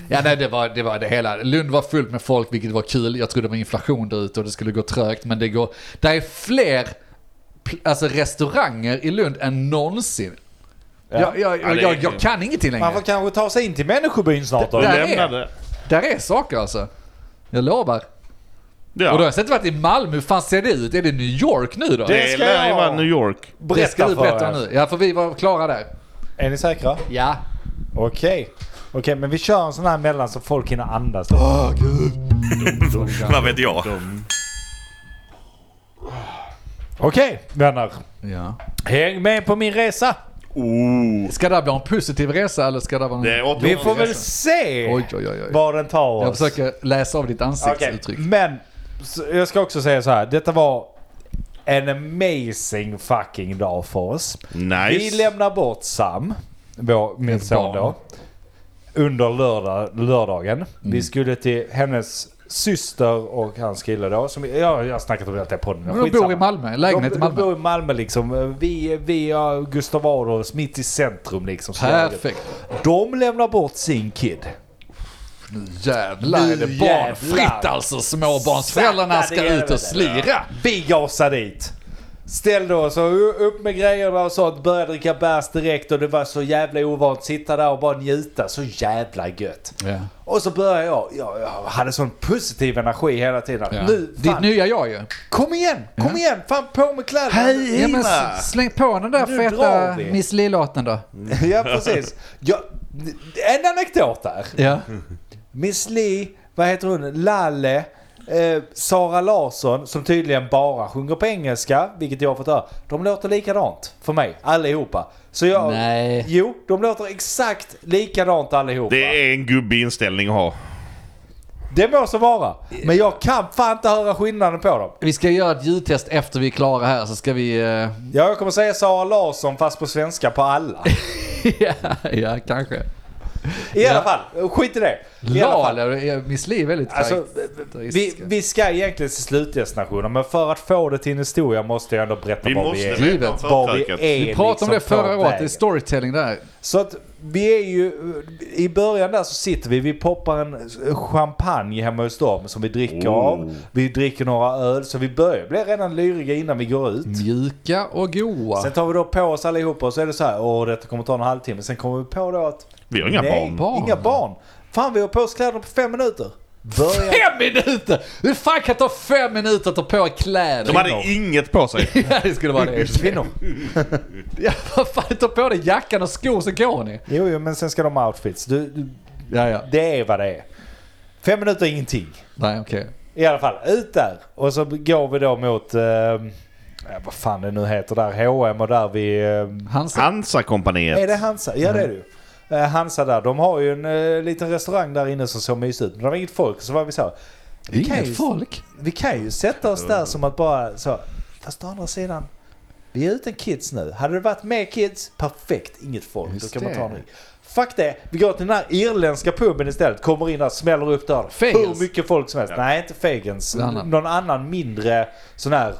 [SPEAKER 1] Ja nej det var, det var det hela. Lund var fullt med folk vilket var kul. Jag trodde det var inflation där ute och det skulle gå trögt men det går. Det är fler pl- alltså, restauranger i Lund än någonsin. Jag, jag,
[SPEAKER 3] Ja, det är
[SPEAKER 1] jag,
[SPEAKER 3] kul.
[SPEAKER 1] jag kan ingenting längre.
[SPEAKER 2] Man får kanske ta sig in till människobyn snart då.
[SPEAKER 3] Du
[SPEAKER 1] Det- Där är-
[SPEAKER 3] lämnade.
[SPEAKER 1] Där är saker alltså. Jag lovar. Och då har
[SPEAKER 3] Ja.
[SPEAKER 1] jag sett varit i Malmö. Hur fan ser det ut? Är det New York nu då?
[SPEAKER 2] Det
[SPEAKER 3] Det
[SPEAKER 2] ska
[SPEAKER 3] lär ju
[SPEAKER 2] jag.
[SPEAKER 3] vara New York.
[SPEAKER 2] *laughs*
[SPEAKER 1] Det ska du berätta
[SPEAKER 2] er.
[SPEAKER 1] om nu. Ja, för vi var klara där.
[SPEAKER 2] Är ni säkra?
[SPEAKER 1] Ja.
[SPEAKER 2] Okej. Okej, men vi kör en sån här mellan så folk hinner andas. lite.
[SPEAKER 1] *gasps*
[SPEAKER 4] Vad vet jag?
[SPEAKER 2] Okej, vänner.
[SPEAKER 1] ja.
[SPEAKER 2] Häng med på min resa.
[SPEAKER 1] Ska det här bli en positiv resa eller ska det vara en...
[SPEAKER 3] Det är åt-
[SPEAKER 2] Oh. Vi får väl se
[SPEAKER 1] Oj, oj, oj. oj.
[SPEAKER 2] var den tar oss.
[SPEAKER 1] Jag försöker läsa av ditt
[SPEAKER 2] Okej,
[SPEAKER 1] ansiktsuttryck.
[SPEAKER 2] Men så- jag ska också säga så här. Detta var en amazing fucking dag för oss. Vi
[SPEAKER 3] Nice.
[SPEAKER 2] lämnar bort Sam, vår, min
[SPEAKER 1] Ett
[SPEAKER 2] son
[SPEAKER 1] barn.
[SPEAKER 2] då. under lördag, lördagen.
[SPEAKER 1] Mm.
[SPEAKER 2] Vi skulle till hennes syster och hans kille då. Som, ja, jag har snackat om detta på podden.
[SPEAKER 1] Men de bor i Malmö, lägenhet i Malmö.
[SPEAKER 2] De bor i Malmö liksom. Vi, vi har Gustav Adolfs mitt i centrum liksom.
[SPEAKER 1] Perfekt.
[SPEAKER 2] De lämnar bort sin kid.
[SPEAKER 1] Nu jävlar är det
[SPEAKER 2] Nu
[SPEAKER 1] barnfritt
[SPEAKER 2] jävlar.
[SPEAKER 1] alltså. Småbarnsföräldrarna ska
[SPEAKER 2] Sakta det
[SPEAKER 1] ut och
[SPEAKER 2] jävlar.
[SPEAKER 1] slira.
[SPEAKER 2] Vi gasar dit. Ställde oss och u- upp med grejerna och sånt. Började dricka bärs direkt och det var så jävla ovant. Sitta där och bara njuta. Så jävla gött.
[SPEAKER 1] Ja.
[SPEAKER 2] Och så började jag. Jag, jag hade sån positiv energi hela tiden.
[SPEAKER 1] Ja.
[SPEAKER 2] Nu,
[SPEAKER 1] Ditt
[SPEAKER 2] fan,
[SPEAKER 1] nya jag ju.
[SPEAKER 2] kom igen! Kom igen! Fan på med kläderna!
[SPEAKER 1] Ja, men s- släng på den där
[SPEAKER 2] Nu
[SPEAKER 1] feta
[SPEAKER 2] drar vi.
[SPEAKER 1] Miss Li-låten då.
[SPEAKER 2] ja precis. Jag, en anekdot där.
[SPEAKER 1] Ja.
[SPEAKER 2] Miss Li, vad heter hon, Lalle, eh, Sara Larsson som tydligen bara sjunger på engelska, vilket jag har fått höra. De låter likadant för mig, allihopa. Så jag...
[SPEAKER 1] Nej.
[SPEAKER 2] Jo, de låter exakt likadant allihopa. Det,
[SPEAKER 3] Det är en gubbig inställning att ha.
[SPEAKER 2] må så vara. Men jag kan fan inte höra skillnaden på dem.
[SPEAKER 1] Vi ska göra ett ljudtest efter vi är klara här så ska vi...
[SPEAKER 2] *laughs*
[SPEAKER 1] eh,
[SPEAKER 2] Ja, jag kommer säga Sara Larsson fast på svenska på alla.
[SPEAKER 1] ja, ja, kanske.
[SPEAKER 2] I alla
[SPEAKER 1] *laughs* Ja.
[SPEAKER 2] fall, skit i det. I alla fall.
[SPEAKER 1] Lal, är- eh, Miss Li är väldigt
[SPEAKER 2] Alltså, vi,
[SPEAKER 1] karaktäristisk.
[SPEAKER 2] vi ska egentligen till slutdestinationen, men för att få det till en historia måste jag ändå berätta
[SPEAKER 3] Vi
[SPEAKER 2] var
[SPEAKER 3] måste
[SPEAKER 2] vi är.
[SPEAKER 1] Givet.
[SPEAKER 3] veta om
[SPEAKER 2] Var vi
[SPEAKER 3] förköket.
[SPEAKER 2] är
[SPEAKER 1] Vi pratade om det
[SPEAKER 2] liksom på
[SPEAKER 1] förra året,
[SPEAKER 2] väg.
[SPEAKER 1] det är storytelling där.
[SPEAKER 2] Så att vi är ju, i början där så sitter vi, vi poppar en champagne hemma hos dem som vi dricker
[SPEAKER 3] Oh.
[SPEAKER 2] av. Vi dricker några öl, så vi börjar bli redan lyriga innan vi går ut.
[SPEAKER 1] Mjuka och goa.
[SPEAKER 2] Sen tar vi då på oss allihopa och så är det så här, åh detta kommer ta en halvtimme. Sen kommer vi på då att,
[SPEAKER 3] Vi har inga
[SPEAKER 2] nej,
[SPEAKER 3] barn.
[SPEAKER 1] barn.
[SPEAKER 2] inga barn. Fan vi har på oss kläderna på fem minuter. Börja
[SPEAKER 1] Fem minuter! Hur fan kan det ta fem minuter att ta på kläder?
[SPEAKER 3] De hade inget på sig.
[SPEAKER 1] *laughs*
[SPEAKER 2] *laughs*
[SPEAKER 1] Ja, det skulle vara det.
[SPEAKER 2] kvinnor.
[SPEAKER 1] *laughs* Ja, vad fan, ta på dig jackan och skor så går ni.
[SPEAKER 2] *laughs* Jo, jo, men sen ska de ha outfits. Du, du,
[SPEAKER 1] Ja, ja.
[SPEAKER 2] det är vad det är. Fem minuter är ingenting.
[SPEAKER 1] Nej, okej.
[SPEAKER 2] I alla fall, ut där. Och så går vi då mot, eh, ja, vad fan det nu heter där, H&M och där vi... Eh,
[SPEAKER 1] Hans...
[SPEAKER 2] är
[SPEAKER 3] Hansa-kompaniet.
[SPEAKER 2] det Hansa? Ja det är det ju. Eh, Hansa där, de har ju en eh, liten restaurang där inne som såg mysig ut. Men det var inget folk, så var vi så här,
[SPEAKER 1] Det är
[SPEAKER 2] kan
[SPEAKER 1] inget
[SPEAKER 2] ju-
[SPEAKER 1] folk.
[SPEAKER 2] vi kan ju sätta oss där som att bara så, fast å andra sidan, vi är utan kids nu. Hade det varit mer kids, perfekt, inget folk.
[SPEAKER 1] Just
[SPEAKER 2] då kan man
[SPEAKER 1] det.
[SPEAKER 2] ta en drink. Fuck det, vi går till den här irländska puben istället, kommer in där, smäller upp dörren.
[SPEAKER 1] Fagans.
[SPEAKER 2] Hur mycket folk som helst. Nej, inte Fagans.
[SPEAKER 1] Någon annan.
[SPEAKER 2] Någon annan mindre sån här, eh,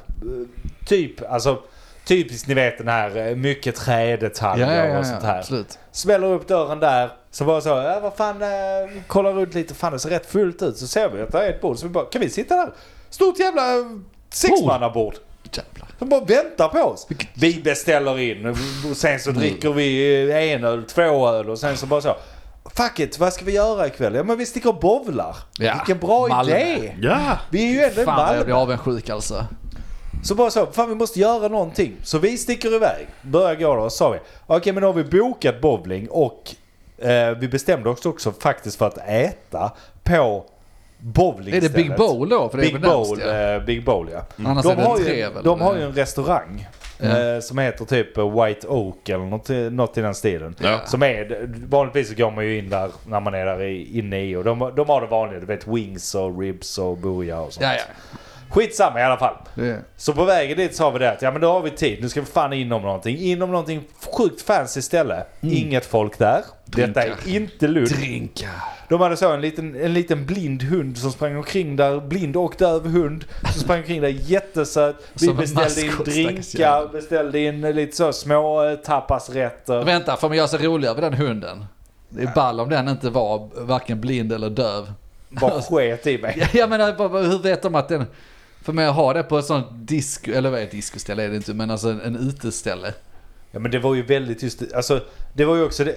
[SPEAKER 2] typ, alltså typiskt ni vet den här, eh, mycket trädetaljer och sånt här.
[SPEAKER 1] absolut.
[SPEAKER 2] Smäller upp dörren där. Så bara så, ja vad fan, eh, kollar runt lite. Fan det ser rätt fullt ut. Så ser vi att det är ett bord. Så vi bara, kan vi sitta där? Stort jävla eh, sexmannabord.
[SPEAKER 1] Jävlar.
[SPEAKER 2] De bara väntar på oss. Vi beställer in och sen så dricker vi eh, en öl, två öl och sen så bara så. Fuck it, vad ska vi göra ikväll? Ja men vi sticker och bowlar.
[SPEAKER 1] Ja,
[SPEAKER 2] Vilken bra
[SPEAKER 1] Malmö.
[SPEAKER 2] idé!
[SPEAKER 3] Ja!
[SPEAKER 2] Vi är ju ändå i
[SPEAKER 1] Fan vad jag
[SPEAKER 2] Malmö.
[SPEAKER 1] blir avundsjuk alltså.
[SPEAKER 2] Så bara så, fan vi måste göra någonting. Så vi sticker iväg, börjar gå då och så sa vi, okej men då har vi bokat bowling och eh, vi bestämde oss också faktiskt för att äta på bowling
[SPEAKER 1] Är det Big Bowl då? För det är
[SPEAKER 2] Big
[SPEAKER 1] väl närmst,
[SPEAKER 2] Bowl,
[SPEAKER 1] ja. Mm.
[SPEAKER 2] eh, Big Bowl ja.
[SPEAKER 1] Annars är
[SPEAKER 2] De
[SPEAKER 1] det
[SPEAKER 2] har,
[SPEAKER 1] en
[SPEAKER 2] ju,
[SPEAKER 1] trevel,
[SPEAKER 2] de har
[SPEAKER 1] eller?
[SPEAKER 2] ju en restaurang. Eh, som heter typ White Oak eller något, i- något i den stilen.
[SPEAKER 3] Ja.
[SPEAKER 2] Som är, vanligtvis så går man ju in där när man är där i- inne i och de, de har det vanliga, du vet wings och ribs och bouillage och sånt.
[SPEAKER 1] Ja, ja.
[SPEAKER 2] Skitsamma i alla fall.
[SPEAKER 1] Det-
[SPEAKER 2] Så på vägen dit sa vi det att ja men då har vi tid, nu ska vi fan in om någonting. In om någonting sjukt fancy ställe.
[SPEAKER 1] Mm.
[SPEAKER 2] Inget folk där. Detta är inte Lund.
[SPEAKER 1] Drinkar.
[SPEAKER 2] De hade så en liten, en liten blind hund som sprang omkring där, blind och döv hund. Som sprang omkring där jättesöt. Vi
[SPEAKER 1] Som en
[SPEAKER 2] beställde in
[SPEAKER 1] maskot, stackars
[SPEAKER 2] drinkar,
[SPEAKER 1] jävel.
[SPEAKER 2] beställde in lite så små eh, tapasrätter.
[SPEAKER 1] Vänta, får man göra sig roligare vid den hunden? Det är ball om den inte var varken blind eller döv.
[SPEAKER 2] Bara sket i mig.
[SPEAKER 1] Ja, Jag menar, vad- vad- hur vet de att den... För mig att ha det på ett sånt disco, eller vad är ett discoställe är det inte, men alltså en, en uteställe.
[SPEAKER 2] Ja men det var ju väldigt just, alltså det var ju också det,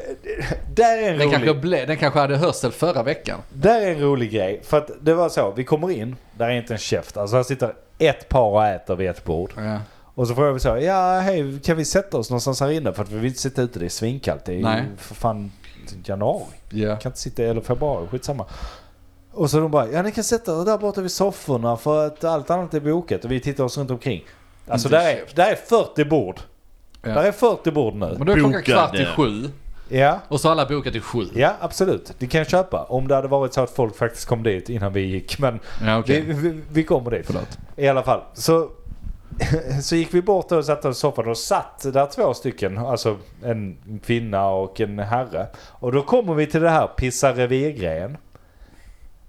[SPEAKER 2] där är en
[SPEAKER 1] Den
[SPEAKER 2] rolig
[SPEAKER 1] kanske, ble, den kanske hade hörsel förra veckan.
[SPEAKER 2] Där är en rolig grej. För att det var så, vi kommer in, där är inte en käft. Alltså här sitter ett par och äter vid ett bord.
[SPEAKER 1] Ja.
[SPEAKER 2] Och så frågar vi så, här, ja hej, kan vi sätta oss någonstans här inne? För att vi vill inte sitta ute, det är svinkallt. Det är
[SPEAKER 1] Nej.
[SPEAKER 2] ju för fan januari.
[SPEAKER 1] Ja.
[SPEAKER 2] Jag kan inte sitta, eller februari, skitsamma. Och så de bara, ja ni kan sätta er där borta vid sofforna för att allt annat är bokat. Och vi tittar oss runt omkring. Alltså
[SPEAKER 1] Inte
[SPEAKER 2] där är,
[SPEAKER 1] käft.
[SPEAKER 2] där är 40 bord.
[SPEAKER 1] Ja.
[SPEAKER 2] Där är 40 bord nu.
[SPEAKER 1] Men då är klockan
[SPEAKER 3] Bokade.
[SPEAKER 1] kvart i sju
[SPEAKER 2] Ja.
[SPEAKER 1] och så har alla bokat till sju.
[SPEAKER 2] Ja, absolut. Det kan jag köpa. Om det hade varit så att folk faktiskt kom dit innan vi gick. Men
[SPEAKER 1] Ja, okej.
[SPEAKER 2] vi, vi, vi kommer dit.
[SPEAKER 1] Förlåt.
[SPEAKER 2] I alla fall. Så *laughs* Så gick vi bort och satte oss i soffan och satt där två stycken, alltså en kvinna och en herre. Och då kommer vi till det här pissa revirgrejen.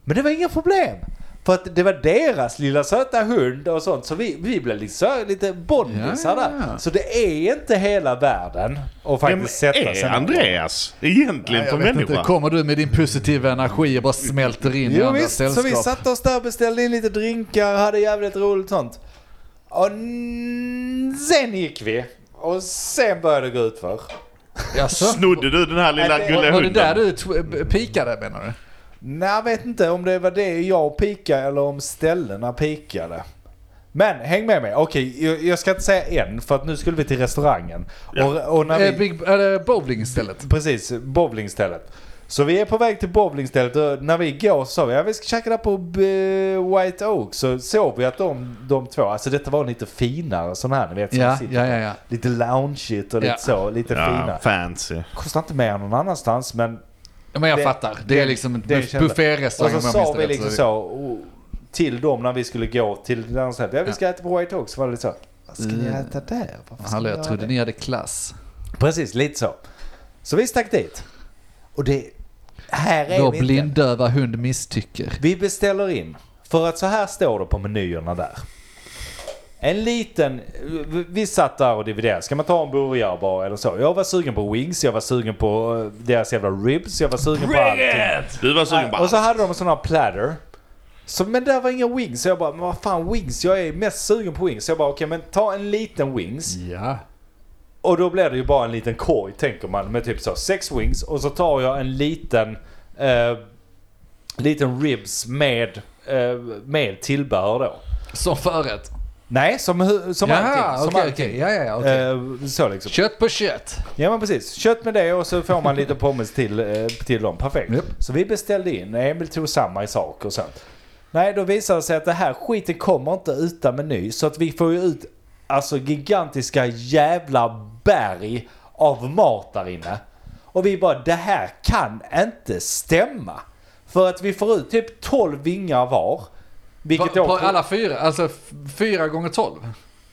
[SPEAKER 2] Men det var inga problem! För att det var deras lilla söta hund och sånt så vi, vi blev liksom lite bondisar
[SPEAKER 1] Ja, ja,
[SPEAKER 2] där.
[SPEAKER 1] ja.
[SPEAKER 2] Så det är inte hela världen att
[SPEAKER 3] Vem
[SPEAKER 2] faktiskt sätta sig
[SPEAKER 3] är
[SPEAKER 2] ner.
[SPEAKER 3] Andreas egentligen
[SPEAKER 1] Jag
[SPEAKER 3] för
[SPEAKER 1] vet inte,
[SPEAKER 3] människa?
[SPEAKER 1] kommer du med din positiva energi och bara smälter in i
[SPEAKER 2] Jo,
[SPEAKER 1] andra
[SPEAKER 2] visst, så
[SPEAKER 1] sällskap?
[SPEAKER 2] vi satte oss där och beställde in lite drinkar, hade jävligt roligt sånt. Och n- sen gick vi. Och sen började det gå utför.
[SPEAKER 1] Jaså?
[SPEAKER 3] Snodde du den här
[SPEAKER 2] Nej,
[SPEAKER 3] lilla
[SPEAKER 2] det-
[SPEAKER 3] gulliga
[SPEAKER 1] Var det där
[SPEAKER 3] hunden?
[SPEAKER 1] du tw- pikade menar du?
[SPEAKER 2] Nej, jag vet inte om det var det jag pikade eller om ställena pikade. Men häng med mig. Okej, jag, jag ska inte säga än för att nu skulle vi till restaurangen. Och, och när
[SPEAKER 1] Eh,
[SPEAKER 2] vi,
[SPEAKER 1] Big, eller bowling istället?
[SPEAKER 2] precis, bowlingstället. Så vi är på väg till bowlingstället och när vi går så sa vi att ja, vi ska käka där på B- White Oak. Så såg vi att de, de två, alltså detta var lite finare sån här ni vet. Som
[SPEAKER 1] Ja,
[SPEAKER 2] sitter.
[SPEAKER 1] ja, ja, ja.
[SPEAKER 2] Lite loungeigt och lite
[SPEAKER 1] Ja.
[SPEAKER 2] så, lite
[SPEAKER 3] Ja,
[SPEAKER 2] fina.
[SPEAKER 3] fancy.
[SPEAKER 2] Kostar inte mer än någon annanstans men
[SPEAKER 1] Ja, Men jag
[SPEAKER 2] Det-
[SPEAKER 1] fattar. Det är
[SPEAKER 2] det-
[SPEAKER 1] liksom en
[SPEAKER 2] det
[SPEAKER 1] buff-
[SPEAKER 2] kände- Och
[SPEAKER 1] bufférestaurang
[SPEAKER 2] så
[SPEAKER 1] om jag
[SPEAKER 2] sa
[SPEAKER 1] minns
[SPEAKER 2] vi
[SPEAKER 1] rätt,
[SPEAKER 2] liksom
[SPEAKER 1] så-
[SPEAKER 2] så och, till dem när vi skulle gå till den andra sidan. Ja, vi ska äta på White Oak. Så var det lite så. Vad ska ni
[SPEAKER 1] Mm.
[SPEAKER 2] äta där? Varför ska
[SPEAKER 1] Hallå,
[SPEAKER 2] ni
[SPEAKER 1] jag
[SPEAKER 2] göra
[SPEAKER 1] trodde
[SPEAKER 2] det?
[SPEAKER 1] ni hade klass.
[SPEAKER 2] Precis, lite så. Så vi stack dit. Och det... Här är
[SPEAKER 1] Vår
[SPEAKER 2] vi inte.
[SPEAKER 1] blinddöva hund misstycker.
[SPEAKER 2] Vi beställer in. För att så här står det på menyerna där. En liten... vi- Vi satt där och dividerade. Ska man ta en burgare bara eller så? Jag var sugen på wings, jag var sugen på eh, deras jävla ribs, jag var sugen på allting.
[SPEAKER 3] Du var sugen
[SPEAKER 2] Nej,
[SPEAKER 3] på
[SPEAKER 2] Och
[SPEAKER 3] allt.
[SPEAKER 2] så hade de en sån här platter. Så, men där var inga wings. Så jag bara, men vad fan wings? Jag är mest sugen på wings. Så jag bara, okej men ta en liten wings.
[SPEAKER 1] Ja.
[SPEAKER 2] Och då blir det ju bara en liten korg tänker man med typ så sex wings. Och så tar jag en liten, eh, liten ribs med, eh, med tillbehör då.
[SPEAKER 1] Som förrätt.
[SPEAKER 2] Nej, som, hu- som
[SPEAKER 1] Jaha,
[SPEAKER 2] allting. Som
[SPEAKER 1] okej,
[SPEAKER 2] allting.
[SPEAKER 1] okej. Ja, ja, ja, okej.
[SPEAKER 2] Eh, så liksom.
[SPEAKER 1] Kött på kött.
[SPEAKER 2] Ja men precis, kött med det och så får man lite pommes till, eh, till dem. Perfekt.
[SPEAKER 1] Japp.
[SPEAKER 2] Så vi beställde in, Emil tog samma i sak och sånt. Nej, då visade det sig att det här skiten kommer inte utan meny. Så att vi får ju ut alltså gigantiska jävla berg av mat där inne. Och vi bara, det här kan inte stämma. För att vi får ut typ 12 vingar var.
[SPEAKER 1] På,
[SPEAKER 2] Vilket då-
[SPEAKER 1] på alla fyra? Alltså f- fyra gånger tolv?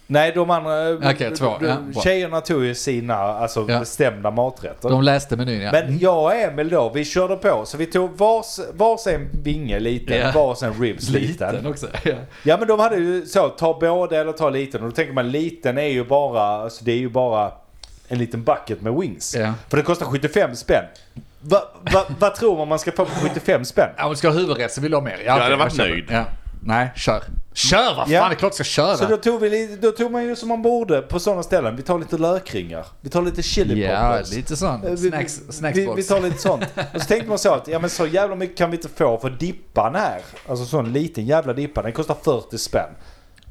[SPEAKER 2] Nej, de andra...
[SPEAKER 1] Okej, två. Ja, bra.
[SPEAKER 2] tjejerna tog ju sina alltså,
[SPEAKER 1] Ja.
[SPEAKER 2] bestämda maträtter.
[SPEAKER 1] De läste menyn ja. Mm.
[SPEAKER 2] Men jag och Emil då, vi körde på. Så vi tog vars, vars en vinge liten,
[SPEAKER 1] Ja.
[SPEAKER 2] vars en ribs liten.
[SPEAKER 1] *laughs* Liten också. Ja.
[SPEAKER 2] Ja men de hade ju så, ta båda eller ta liten. Och då tänker man liten är ju bara, alltså det är ju bara en liten bucket med wings.
[SPEAKER 1] Ja.
[SPEAKER 2] För det kostar 75 spänn. Va, va, vad tror man man ska få för 75 spänn?
[SPEAKER 1] Ja, Om du ska ha huvudrätt så vill du ha mer. Ja,
[SPEAKER 3] hade
[SPEAKER 1] okej, jag
[SPEAKER 3] varit
[SPEAKER 1] köper.
[SPEAKER 3] nöjd.
[SPEAKER 1] Ja. Nej, kör. Kör vad fan,
[SPEAKER 2] Ja.
[SPEAKER 1] det är klart du ska köra.
[SPEAKER 2] Så då tog, vi, lite- då tog man ju som man borde på sådana ställen. Vi tar lite lökringar. Vi tar lite chili
[SPEAKER 1] Ja,
[SPEAKER 2] poppers.
[SPEAKER 1] lite
[SPEAKER 2] Eh,
[SPEAKER 1] sån.
[SPEAKER 2] vi-
[SPEAKER 1] Snacks,
[SPEAKER 2] vi, vi
[SPEAKER 1] snacksbox.
[SPEAKER 2] tar lite sånt. Och så tänkte man så att ja, men så jävla mycket kan vi inte få för dippan här. Alltså sån liten jävla dippa. Den kostar 40 spänn.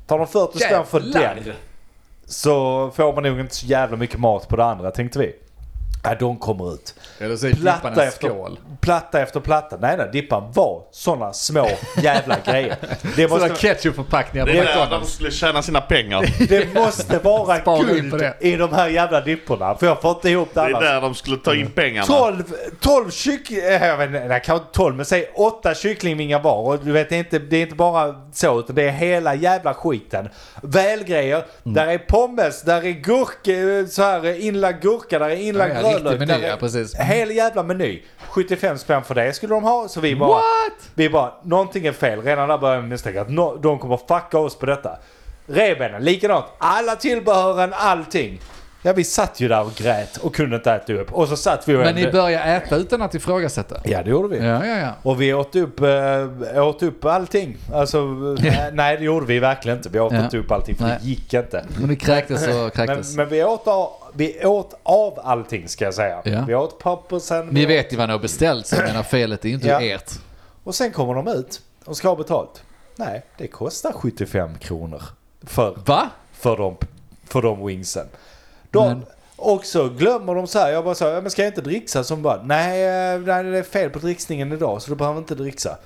[SPEAKER 2] Tar de 40 spänn för
[SPEAKER 1] Jävlar.
[SPEAKER 2] den så får man nog inte så jävla mycket mat på det andra tänkte vi. Nej, de kommer ut.
[SPEAKER 1] Eller så är klippan
[SPEAKER 2] Platta
[SPEAKER 1] en
[SPEAKER 2] efter,
[SPEAKER 1] skål.
[SPEAKER 2] platta efter platta. Nej, nej, dippan var såna små
[SPEAKER 1] *laughs*
[SPEAKER 2] jävla grejer. Det måste,
[SPEAKER 1] Sådana ketchupförpackningar på
[SPEAKER 3] Det är där de
[SPEAKER 1] McDonalds.
[SPEAKER 3] skulle tjäna sina pengar.
[SPEAKER 2] det måste vara
[SPEAKER 1] Spara in på
[SPEAKER 2] guld
[SPEAKER 1] det.
[SPEAKER 2] i de här jävla dipporna. För jag får inte ihop det
[SPEAKER 3] Det är
[SPEAKER 2] annars.
[SPEAKER 3] där de skulle ta in pengarna.
[SPEAKER 2] 12, 12 kycklingar, eh, jag vet inte, nej, kanske inte 12 men säg 8 kycklingvingar var. Och du vet, det är, inte, det är inte bara så utan det är hela jävla skiten. Välgrejer,
[SPEAKER 1] Mm.
[SPEAKER 2] där är pommes, där är gurka, så här eh, inlagd gurka, där är inlagd
[SPEAKER 1] Ja, ja, riktig
[SPEAKER 2] rödlök.
[SPEAKER 1] meny,
[SPEAKER 2] där är-
[SPEAKER 1] ja, precis.
[SPEAKER 2] Hel jävla meny. 75 spänn för det skulle de ha så vi bara...
[SPEAKER 1] What?
[SPEAKER 2] Vi bara, någonting är fel. Redan där börjar vi misstänka att no, de kommer fucka oss på detta. Revbenen, likadant. Alla tillbehören, allting. Ja, vi satt ju där och grät och kunde inte äta upp. Och så satt vi och
[SPEAKER 1] Men ni
[SPEAKER 2] ämnade-
[SPEAKER 1] börjar äta utan att ifrågasätta?
[SPEAKER 2] Ja, det gjorde vi.
[SPEAKER 1] Ja, ja, ja.
[SPEAKER 2] Och vi åt upp, eh, åt upp allting.
[SPEAKER 1] *laughs*
[SPEAKER 2] Alltså, eh, nej det gjorde vi verkligen inte. Vi åt
[SPEAKER 1] Ja.
[SPEAKER 2] inte upp allting för
[SPEAKER 1] Nej.
[SPEAKER 2] det gick inte.
[SPEAKER 1] Men ni kräktes och
[SPEAKER 2] Men,
[SPEAKER 1] kräktes.
[SPEAKER 2] men vi, åt av, vi åt av allting ska jag säga.
[SPEAKER 1] Ja.
[SPEAKER 2] Vi åt pappersen.
[SPEAKER 1] Ni
[SPEAKER 2] vi
[SPEAKER 1] vet ju vad ni har beställt, så jag menar felet är ju inte
[SPEAKER 2] Ja.
[SPEAKER 1] ert.
[SPEAKER 2] Och sen kommer de ut och ska ha betalt. Nej, det kostar 75 kronor för,
[SPEAKER 1] Va?
[SPEAKER 2] för, de, för de wingsen. De,
[SPEAKER 1] Men-
[SPEAKER 2] Och så glömmer de så här, jag bara sa, ja, men ska jag inte dricksa? Som bara, nej, eh, nej det är fel på dricksningen idag så du behöver inte dricksa.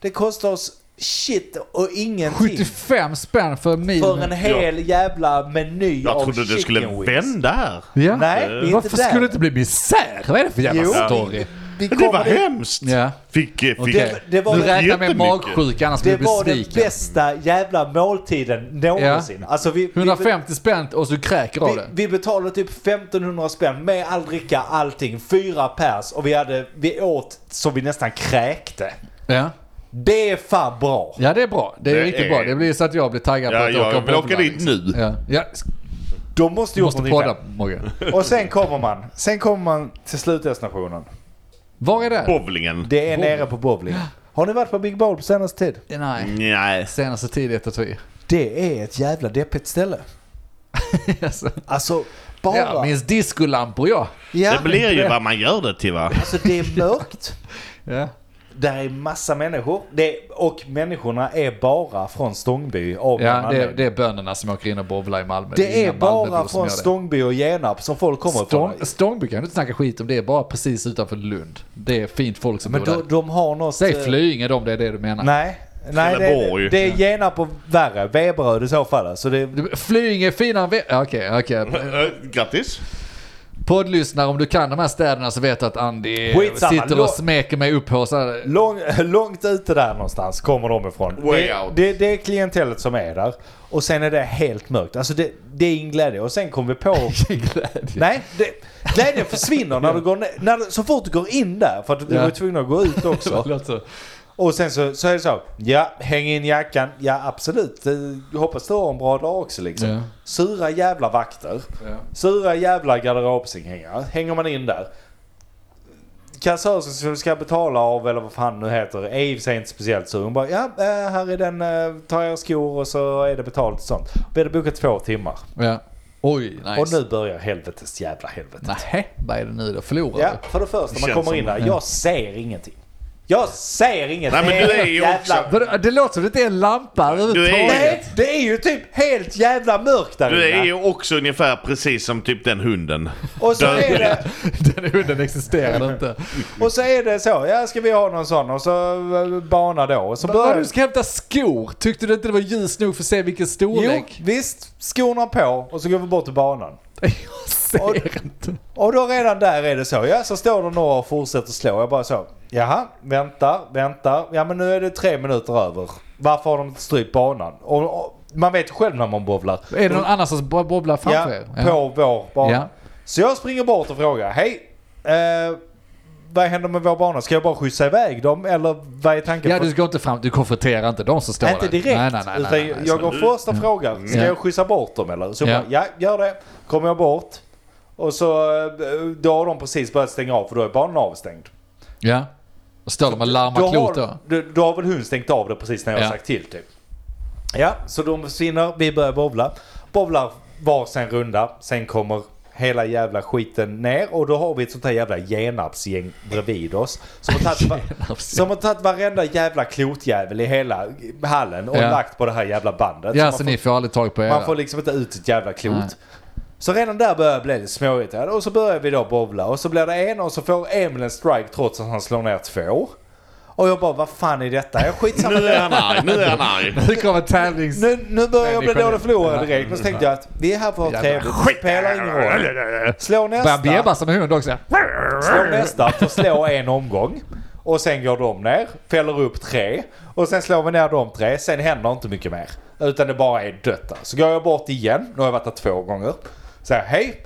[SPEAKER 2] Det kostar oss shit och ingenting
[SPEAKER 1] 75 spänn för en mil.
[SPEAKER 2] för en hel jävla meny
[SPEAKER 3] Jag
[SPEAKER 2] av
[SPEAKER 3] trodde det skulle
[SPEAKER 2] chicken wings.
[SPEAKER 3] vända här.
[SPEAKER 1] Ja.
[SPEAKER 2] Nej, vi är inte
[SPEAKER 1] Varför
[SPEAKER 2] där.
[SPEAKER 1] skulle det inte bli misär? Vad är det för jävla
[SPEAKER 2] Jo.
[SPEAKER 1] story?
[SPEAKER 2] vi
[SPEAKER 3] Det var
[SPEAKER 2] kommer dit.
[SPEAKER 3] hemskt!
[SPEAKER 1] Ja.
[SPEAKER 3] Fick, fick
[SPEAKER 1] Okej.
[SPEAKER 2] det var
[SPEAKER 1] nu
[SPEAKER 2] det
[SPEAKER 1] räknar med
[SPEAKER 3] jättemycket.
[SPEAKER 1] magsjuka, annars
[SPEAKER 2] Det
[SPEAKER 1] blir
[SPEAKER 2] var
[SPEAKER 1] du
[SPEAKER 2] den
[SPEAKER 1] besviken.
[SPEAKER 2] bästa jävla måltiden någonsin. Alltså vi, vi-
[SPEAKER 1] 150 spänn och så kräker av
[SPEAKER 2] vi,
[SPEAKER 1] det.
[SPEAKER 2] vi betalade typ 1500 spänn med all dricka, allting. Fyra pers och vi, hade, vi åt så vi nästan kräkte.
[SPEAKER 1] Ja.
[SPEAKER 2] Det är fan bra.
[SPEAKER 1] ja, det är bra. Det är
[SPEAKER 3] Det
[SPEAKER 1] riktigt
[SPEAKER 3] är-
[SPEAKER 1] bra. Det blir så att jag blir taggad på
[SPEAKER 3] Ja,
[SPEAKER 1] att
[SPEAKER 3] jag
[SPEAKER 1] åka
[SPEAKER 3] vill
[SPEAKER 1] och
[SPEAKER 3] åka
[SPEAKER 1] podda,
[SPEAKER 3] dit
[SPEAKER 1] liksom.
[SPEAKER 3] nu.
[SPEAKER 1] Ja. ja.
[SPEAKER 2] De måste
[SPEAKER 1] Du
[SPEAKER 2] gjort
[SPEAKER 1] måste
[SPEAKER 2] någonting
[SPEAKER 1] podda, Mogge.
[SPEAKER 2] där. Och sen kommer man. Sen kommer man till slutdestinationen.
[SPEAKER 1] Var är det?
[SPEAKER 3] Bowlingen.
[SPEAKER 2] Det är nere på bowling. Har ni varit på Big Bowl på senaste tid?
[SPEAKER 1] Nej.
[SPEAKER 3] Nej.
[SPEAKER 1] Senaste tid i ett tatuering.
[SPEAKER 2] Det är ett jävla deppigt ställe.
[SPEAKER 1] *laughs* Alltså.
[SPEAKER 2] Alltså, bara...
[SPEAKER 1] Ja,
[SPEAKER 2] Ja,
[SPEAKER 1] minns discolampor ja.
[SPEAKER 3] Det blir ju vad man gör det till va?
[SPEAKER 2] Alltså det är mörkt.
[SPEAKER 1] ja.
[SPEAKER 2] Där är massa människor. Det, och människorna är bara från Stångby. Av
[SPEAKER 1] Ja,
[SPEAKER 2] någon
[SPEAKER 1] det,
[SPEAKER 2] anledning.
[SPEAKER 1] det är bönderna som åker in och bowlar i Malmö.
[SPEAKER 2] det
[SPEAKER 1] inga
[SPEAKER 2] är bara
[SPEAKER 1] Malmöbor som
[SPEAKER 2] från
[SPEAKER 1] gör det.
[SPEAKER 2] Stångby och Genarp som folk kommer
[SPEAKER 1] Stång,
[SPEAKER 2] från.
[SPEAKER 1] Stångby kan du inte snacka skit om, det är bara precis utanför Lund. Det är fint folk som
[SPEAKER 2] Men
[SPEAKER 1] bor
[SPEAKER 2] de,
[SPEAKER 1] där.
[SPEAKER 2] de har något... eh,
[SPEAKER 1] Säg Flyinge om det är det du menar.
[SPEAKER 2] Nej. Nej, det,
[SPEAKER 3] Trelleborg.
[SPEAKER 2] är- det är Genarp och värre. Veberöd i så fall. Så det,
[SPEAKER 1] Du- Flyinge är finare än Ve- Ja, Okej, okej.
[SPEAKER 3] Eh, Grattis!
[SPEAKER 1] Poddlyssnare, om du kan de här städerna så vet du att Andy eh,
[SPEAKER 2] Skitsamma,
[SPEAKER 1] sitter och
[SPEAKER 2] låt-
[SPEAKER 1] smeker mig upphåsad.
[SPEAKER 2] Lång, långt ute där någonstans kommer de ifrån.
[SPEAKER 3] Way
[SPEAKER 2] det,
[SPEAKER 3] out.
[SPEAKER 2] Det, det är klientellet som är där. Och sen är det helt mörkt. Alltså det, det är ingen glädje. Och sen kom vi på... nej, det, glädjen försvinner när du går ner, när du, Så fort du går in där. För att du
[SPEAKER 1] Ja.
[SPEAKER 2] var tvungen att gå
[SPEAKER 1] *laughs*
[SPEAKER 2] ut också. och sen så, så är det så. Ja, häng in jackan. Ja, absolut. Eh, Hoppas du har en bra dag också liksom.
[SPEAKER 1] Ja.
[SPEAKER 2] Sura jävla vakter. Sura jävla garderobsinghängare. Hänger man in där. Kassörskan som ska betala av eller vad fan nu heter är i och för sig inte speciellt sur. Hon bara ja eh, här är den, eh, ta era skor och så är det betalt och sånt. Vi hade bokat två timmar.
[SPEAKER 1] Ja. Oj, nice.
[SPEAKER 2] Och nu börjar helvetes jävla helvete.
[SPEAKER 1] Nähä, vad är det nu då? Förlorar
[SPEAKER 2] Ja,
[SPEAKER 1] du?
[SPEAKER 2] för det första man
[SPEAKER 3] Känns
[SPEAKER 2] kommer in
[SPEAKER 3] som-
[SPEAKER 2] där, jag ser ingenting. Jag ser inget.
[SPEAKER 3] Nej, men
[SPEAKER 2] Det
[SPEAKER 3] du är
[SPEAKER 2] helt
[SPEAKER 3] ju
[SPEAKER 2] jävla...
[SPEAKER 3] också-
[SPEAKER 1] Vadå, Det låter som det inte är en lampa överhuvudtaget.
[SPEAKER 2] Nej, det är ju typ helt jävla mörkt där
[SPEAKER 3] Du är
[SPEAKER 2] inne.
[SPEAKER 3] ju också ungefär precis som typ den hunden.
[SPEAKER 2] Och så är
[SPEAKER 3] Dödlig.
[SPEAKER 2] det...
[SPEAKER 1] *laughs* Den hunden existerar inte.
[SPEAKER 2] Och så är det så, ja ska vi ha någon sån och så eh, bana då. Och så
[SPEAKER 1] Bara
[SPEAKER 2] börjar...
[SPEAKER 1] du ska hämta skor, tyckte du inte det var ljus nog för att se vilken
[SPEAKER 2] Jo,
[SPEAKER 1] storlek?
[SPEAKER 2] visst, skorna på och så går vi bort till banan.
[SPEAKER 1] *laughs* Jag ser inte.
[SPEAKER 2] Och då redan där är det så, ja så står det några och fortsätter slå. Jag bara så, jaha, vänta, vänta. Ja men nu är det tre minuter över. Varför har de inte strypt banan? Och, och, man vet själv när man bowlar.
[SPEAKER 1] Är det någon annan som bo- bobblar
[SPEAKER 2] Ja,
[SPEAKER 1] framför er?
[SPEAKER 2] på vår bana.
[SPEAKER 1] Ja.
[SPEAKER 2] Så jag springer bort och frågar, hej, eh, vad händer med vår bana? Ska jag bara skjutsa iväg dem eller vad är tanken?
[SPEAKER 1] Ja,
[SPEAKER 2] För-
[SPEAKER 1] du går inte fram, du konfronterar inte de som står
[SPEAKER 2] Inte
[SPEAKER 1] där.
[SPEAKER 2] direkt.
[SPEAKER 1] Nej, nej, nej. nej,
[SPEAKER 2] utan
[SPEAKER 1] nej, nej. Mm.
[SPEAKER 2] jag går först och frågar, ska
[SPEAKER 1] Ja.
[SPEAKER 2] jag skjutsa bort dem eller? Så
[SPEAKER 1] Ja.
[SPEAKER 2] ja. Bara, ja, gör det. Kommer jag bort. Och så, eh, då har de precis börjat stänga av för då är banan avstängd.
[SPEAKER 1] Ja. Och står de och larmar klot då?
[SPEAKER 2] har, då, då har väl hon stängt av det precis när jag
[SPEAKER 1] Ja.
[SPEAKER 2] sagt till typ. Ja, så de försvinner, vi börjar bowla. Bowlar var sin runda, sen kommer hela jävla skiten ner och då har vi ett sånt här jävla genapsgäng bredvid oss. Som har tagit, va-
[SPEAKER 1] *laughs* Genapsgäng.
[SPEAKER 2] som har tagit varenda jävla klotjävel i hela hallen och
[SPEAKER 1] Ja.
[SPEAKER 2] lagt på det här jävla bandet.
[SPEAKER 1] Ja,
[SPEAKER 2] man
[SPEAKER 1] så
[SPEAKER 2] får-
[SPEAKER 1] ni får aldrig tag på era. *laughs*
[SPEAKER 2] man får liksom inte ut ett jävla klot.
[SPEAKER 1] Nej.
[SPEAKER 2] Så redan där börjar jag bli lite småirriterad och så börjar vi då bowla och så blir det en och så får Emil en strike trots att han slår ner två. Och jag bara, vad fan är detta? Jag skitsamma.
[SPEAKER 3] Nu är han arg, nu är han
[SPEAKER 2] *laughs*
[SPEAKER 3] arg.
[SPEAKER 1] Nu kommer tävlings...
[SPEAKER 2] Nu, nu börjar jag bli
[SPEAKER 1] Människan är-
[SPEAKER 2] dålig förlorare
[SPEAKER 1] Ja.
[SPEAKER 2] direkt. Men så tänkte jag att vi är här för att ha
[SPEAKER 1] Jävla
[SPEAKER 2] trevligt. Det spelar ingen roll. Slå
[SPEAKER 1] Börjar bjäbba
[SPEAKER 2] nästa.
[SPEAKER 1] som en hund också.
[SPEAKER 2] Slå nästa. Får slå en omgång. Och sen går de ner. Fäller upp tre. Och sen slår vi ner de tre. Sen händer inte mycket mer. Utan det bara är dött där. Så går jag bort igen. Nu har jag varit där två gånger. Säger hej.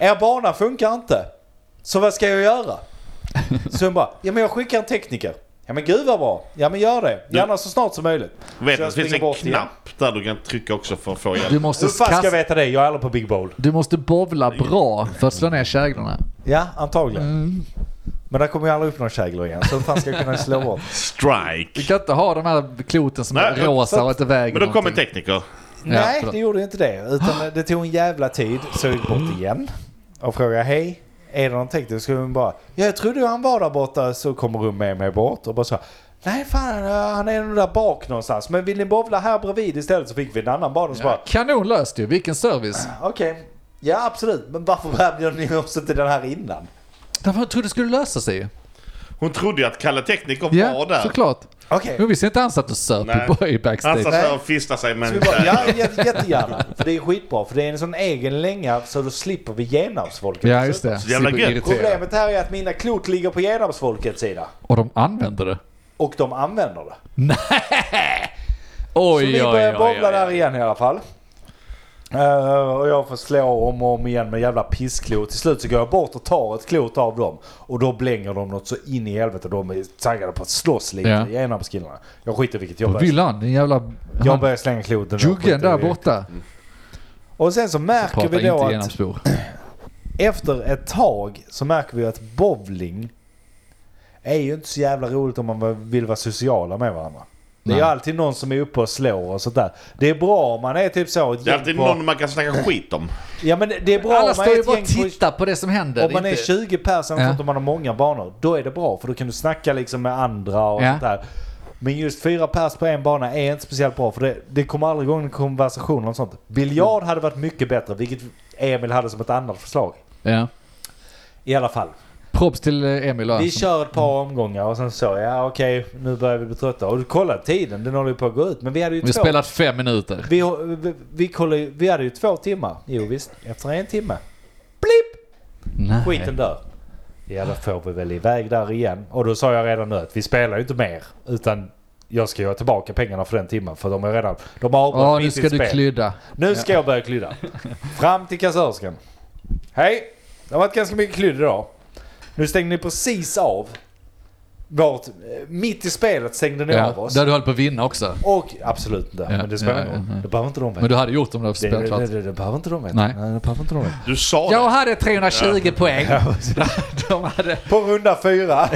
[SPEAKER 2] Er bana funkar inte. Så vad ska jag göra? Så hon bara, ja men jag skickar en tekniker. Ja men gud vad bra. Ja men gör det. Gärna så snart som möjligt.
[SPEAKER 3] Vet
[SPEAKER 2] Så
[SPEAKER 3] du,
[SPEAKER 2] jag
[SPEAKER 3] det finns
[SPEAKER 2] springer
[SPEAKER 3] en
[SPEAKER 2] bort igen.
[SPEAKER 3] knapp där du kan trycka också för att få hjälp.
[SPEAKER 1] Du måste,
[SPEAKER 2] Hur fan ska jag
[SPEAKER 1] kasta,
[SPEAKER 2] veta det? Jag är aldrig på Big Bowl.
[SPEAKER 1] du måste bovla bra för att slå ner käglorna.
[SPEAKER 2] Ja, antagligen. Mm. Men där kommer jag aldrig upp några käglor igen. Så hur fan ska jag kunna slå bort?
[SPEAKER 1] Du
[SPEAKER 3] Strike.
[SPEAKER 1] kan inte ha de här kloten som är
[SPEAKER 3] Nej,
[SPEAKER 1] rosa och inte väger
[SPEAKER 3] Men då kommer en
[SPEAKER 1] någonting.
[SPEAKER 3] tekniker.
[SPEAKER 2] Nej,
[SPEAKER 1] förlåt.
[SPEAKER 2] det gjorde inte det.
[SPEAKER 1] *gasps*
[SPEAKER 2] Utan det tog en jävla tid. Så jag gick
[SPEAKER 1] Mm.
[SPEAKER 2] bort igen och frågade hej. Är det någon tekniker? Skulle hon bara, ja, jag trodde han var där borta. Så kommer hon med mig bort och bara så. Nej fan, eh, han är nog där bak någonstans. Men vill ni bowla här bredvid istället så fick vi en annan bana. Så bara,
[SPEAKER 1] Kanon löst ju, vilken service.
[SPEAKER 2] okej. Ja absolut, men varför erbjöd ni oss inte den här innan?
[SPEAKER 1] Därför jag trodde det skulle lösa sig ju.
[SPEAKER 3] Hon trodde ju att Kalle Tekniker var
[SPEAKER 1] Ja,
[SPEAKER 3] där.
[SPEAKER 1] såklart.
[SPEAKER 2] Okej.
[SPEAKER 1] Hon visste inte ens att du söp
[SPEAKER 3] Nej.
[SPEAKER 1] på i
[SPEAKER 3] Han
[SPEAKER 1] backstage.
[SPEAKER 3] satt
[SPEAKER 2] Nej.
[SPEAKER 3] där och fistade sig med
[SPEAKER 2] Ska vi
[SPEAKER 3] en
[SPEAKER 2] bara-
[SPEAKER 3] kärlek.
[SPEAKER 2] Ja, jä- jättegärna. För det är skitbra. För det är en sån egen länga så då slipper vi genapsfolket.
[SPEAKER 1] ja, just det.
[SPEAKER 3] Så jävla
[SPEAKER 1] Super
[SPEAKER 3] gött.
[SPEAKER 1] irriterad.
[SPEAKER 2] Problemet här är att mina klot ligger på genapsfolkets sida.
[SPEAKER 1] Och de använde det.
[SPEAKER 2] Och de använder det. Så
[SPEAKER 1] Oj,
[SPEAKER 2] vi
[SPEAKER 1] oj,
[SPEAKER 2] börjar
[SPEAKER 1] oj, oj,
[SPEAKER 2] bobbla där
[SPEAKER 1] oj.
[SPEAKER 2] igen i alla fall. Eh, och jag får slå om och om igen med jävla pissklot. Till slut så går jag bort och tar ett klot av dem. Och då blänger de något så in i helvete. De är taggade på att slåss lite,
[SPEAKER 1] Ja.
[SPEAKER 2] genapskillarna. Jag skiter i vilket jag
[SPEAKER 1] Vad
[SPEAKER 2] börjar.
[SPEAKER 1] Vill han? Den jävla...
[SPEAKER 2] Jag
[SPEAKER 1] Han,
[SPEAKER 2] börjar slänga kloten. och
[SPEAKER 1] juggen
[SPEAKER 2] skiter i
[SPEAKER 1] där
[SPEAKER 2] det.
[SPEAKER 1] borta.
[SPEAKER 2] Och sen så märker
[SPEAKER 1] Prata
[SPEAKER 2] vi då
[SPEAKER 1] inte
[SPEAKER 2] att
[SPEAKER 1] genomspår.
[SPEAKER 2] efter ett tag så märker vi att bowling är ju inte så jävla roligt om man vill vara sociala med varandra. Det är ju
[SPEAKER 1] Nej.
[SPEAKER 2] alltid någon som är uppe och slår och sånt där. Det är bra om man är typ så. ett
[SPEAKER 3] Det är
[SPEAKER 2] gäng
[SPEAKER 3] alltid
[SPEAKER 2] på-
[SPEAKER 3] någon man kan snacka skit om.
[SPEAKER 2] Ja men det är bra
[SPEAKER 1] Alla
[SPEAKER 2] om man är
[SPEAKER 1] står ju
[SPEAKER 2] ett
[SPEAKER 1] bara
[SPEAKER 2] gäng
[SPEAKER 1] och
[SPEAKER 2] på...
[SPEAKER 1] tittar på det som händer.
[SPEAKER 2] Om man
[SPEAKER 1] Det
[SPEAKER 2] är
[SPEAKER 1] inte-
[SPEAKER 2] 20 personer
[SPEAKER 1] Ja.
[SPEAKER 2] och man har många banor, då är det bra för då kan du snacka liksom med andra och
[SPEAKER 1] Ja.
[SPEAKER 2] sånt där. Men just fyra pers på en bana är inte speciellt bra för det, det kommer aldrig igång en konversation om sånt. Biljard hade varit mycket bättre, vilket Emil hade som ett annat förslag.
[SPEAKER 1] Ja.
[SPEAKER 2] I alla fall.
[SPEAKER 1] Props till eh, Emil och
[SPEAKER 2] Vi
[SPEAKER 1] Anson.
[SPEAKER 2] kör ett par
[SPEAKER 1] Mm.
[SPEAKER 2] omgångar och sen så, ja okej, nu börjar vi bli trötta. Och kolla tiden, den håller ju på att gå ut. Men vi hade ju
[SPEAKER 1] Vi har
[SPEAKER 2] två...
[SPEAKER 1] spelat fem minuter.
[SPEAKER 2] Vi, vi, vi, kollar ju, vi hade ju två timmar. Jo visst, efter en timme. Blipp!
[SPEAKER 1] Nej.
[SPEAKER 2] Skiten dör. Ja, då får vi väl iväg där igen. Och då sa jag redan nu att vi spelar ju inte mer. Utan jag ska ju ha tillbaka pengarna för den timmen. För de har redan... De har avbrutit
[SPEAKER 1] Ja, nu
[SPEAKER 2] mitt
[SPEAKER 1] ska
[SPEAKER 2] i
[SPEAKER 1] du
[SPEAKER 2] spel.
[SPEAKER 1] klydda.
[SPEAKER 2] Nu ska jag börja klydda. Fram till kassörskan. Hej! Det har varit ganska mycket klydd idag. Nu stängde ni precis av. Vårt, eh, mitt i spelet stängde ni av
[SPEAKER 1] Ja.
[SPEAKER 2] oss.
[SPEAKER 1] Där du höll på att vinna också.
[SPEAKER 2] Och absolut inte.
[SPEAKER 1] Ja,
[SPEAKER 2] Men det spelar
[SPEAKER 1] ja,
[SPEAKER 2] ingen
[SPEAKER 1] ja, ja.
[SPEAKER 2] roll. Det behöver inte de veta.
[SPEAKER 1] Men du hade gjort om det var
[SPEAKER 2] Det, det,
[SPEAKER 1] spelat klart.
[SPEAKER 2] det, det, det behöver inte de veta.
[SPEAKER 1] Nej.
[SPEAKER 2] det behöver inte de veta.
[SPEAKER 3] Du sa
[SPEAKER 1] Jag
[SPEAKER 3] det.
[SPEAKER 1] hade 320 poäng. *laughs* De hade...
[SPEAKER 2] På runda fyra.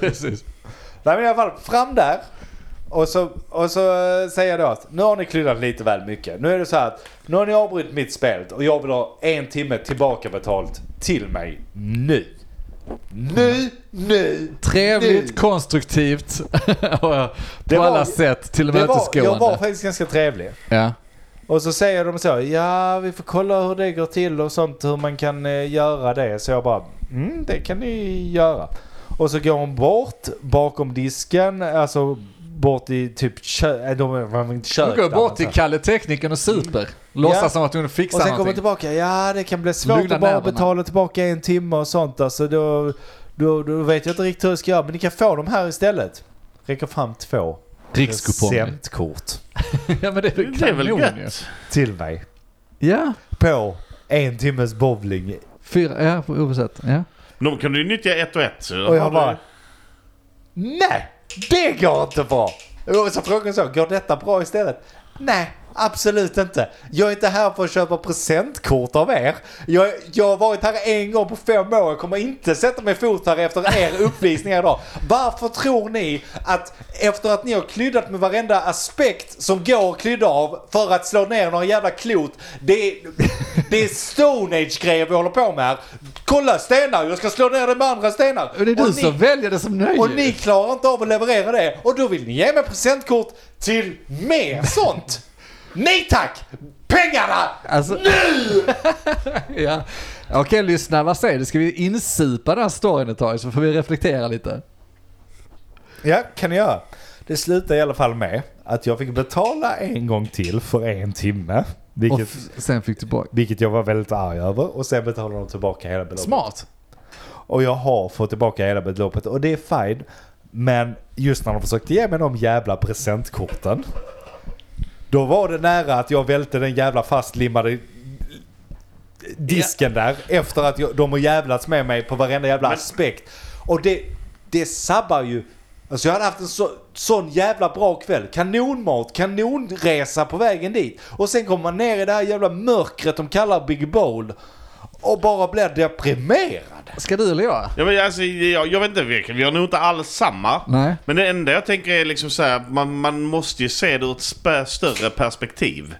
[SPEAKER 1] Precis.
[SPEAKER 2] Nej men i alla fall, fram där. Och så, och så eh, säger jag då att nu har ni klyddat lite väl mycket. Nu är det så här att nu har ni avbrutit mitt spel och jag vill ha en timme tillbaka betalt till mig nu. Nu, nu, nu.
[SPEAKER 1] Trevligt, konstruktivt *laughs* och på
[SPEAKER 2] var-
[SPEAKER 1] alla sätt
[SPEAKER 2] Det var, jag var
[SPEAKER 1] tillmötesgående.
[SPEAKER 2] faktiskt ganska trevlig.
[SPEAKER 1] Ja.
[SPEAKER 2] Och så säger de så, ja vi får kolla hur det går till och sånt, hur man kan eh, göra det. Så jag bara, mm det kan ni göra. Och så går hon bort bakom disken, alltså bort i typ kö- nej, de var inte kök.
[SPEAKER 1] Hon går
[SPEAKER 2] där, men
[SPEAKER 1] bort till
[SPEAKER 2] så.
[SPEAKER 1] Kalle Teknikern och super. Låtsas
[SPEAKER 2] alltså. Ja.
[SPEAKER 1] som att hon
[SPEAKER 2] Och
[SPEAKER 1] fixar
[SPEAKER 2] sen kommer
[SPEAKER 1] någonting.
[SPEAKER 2] tillbaka, ja det kan bli svårt
[SPEAKER 1] Lugna
[SPEAKER 2] att bara
[SPEAKER 1] nerverna.
[SPEAKER 2] betala tillbaka en timme och sånt. Alltså då, då, då vet jag inte riktigt hur jag ska göra, men ni kan få de här istället. Räcker fram två
[SPEAKER 1] Rikskupongen.
[SPEAKER 2] presentkort
[SPEAKER 1] *laughs* ja men det är väl
[SPEAKER 3] Det är väl
[SPEAKER 1] kanon ju.
[SPEAKER 3] gött?
[SPEAKER 2] till mig.
[SPEAKER 1] Ja.
[SPEAKER 2] På en timmes bowling
[SPEAKER 1] Fyra, ja på oavsett. Ja.
[SPEAKER 3] De kan du ju nyttja ett och ett.
[SPEAKER 2] Och jag bara... Nej! Det går inte bra! Och så frågade jag så, går detta bra istället? Nej, absolut inte. Jag är inte här för att köpa presentkort av er. Jag, jag har varit här en gång på fem år. Jag kommer inte sätta mig fot här efter er uppvisningar idag. Varför tror ni att efter att ni har klyddat med varenda aspekt som går att klydda av för att slå ner några jävla klot. Det är, det är Stone Age-grejer vi håller på med här. Kolla stenar, jag ska slå ner det med andra stenar.
[SPEAKER 1] Och det är du
[SPEAKER 2] Och ni-
[SPEAKER 1] som väljer det som nöje.
[SPEAKER 2] och ni klarar inte av att leverera det och då vill ni ge mig presentkort till mer sånt. Nej tack! Pengarna!
[SPEAKER 1] Alltså... Nu! *laughs* ja. Okej, lyssna. Vad säger du? Ska vi insupa den här storyn ett tag så får vi reflektera lite?
[SPEAKER 2] Ja, kan jag göra. Det slutade i alla fall med att jag fick betala en gång till för en timme.
[SPEAKER 1] Och
[SPEAKER 2] Vilket,
[SPEAKER 1] f- sen fick du tillbaka.
[SPEAKER 2] vilket jag var väldigt arg över. Och sen betalade de tillbaka hela beloppet.
[SPEAKER 1] Smart.
[SPEAKER 2] Och jag har fått tillbaka hela beloppet och det är fine. Men just när de försökte ge mig de jävla presentkorten. Då var det nära att jag välte den jävla fastlimmade disken där. Efter att jag, de har jävlats med mig på varenda jävla aspekt. Och det, det sabbar ju. Alltså jag hade haft en så, sån jävla bra kväll. Kanonmat, kanonresa på vägen dit. Och sen kommer man ner i det här jävla mörkret de kallar Big Bowl. Och bara blir deprimerad.
[SPEAKER 1] Ska du eller jag?
[SPEAKER 3] Ja, men alltså, jag, jag vet inte vilken, vi har nog inte alls samma.
[SPEAKER 1] Nej.
[SPEAKER 3] Men det enda jag tänker är liksom så här, man, man måste ju se det ur ett spö- större perspektiv.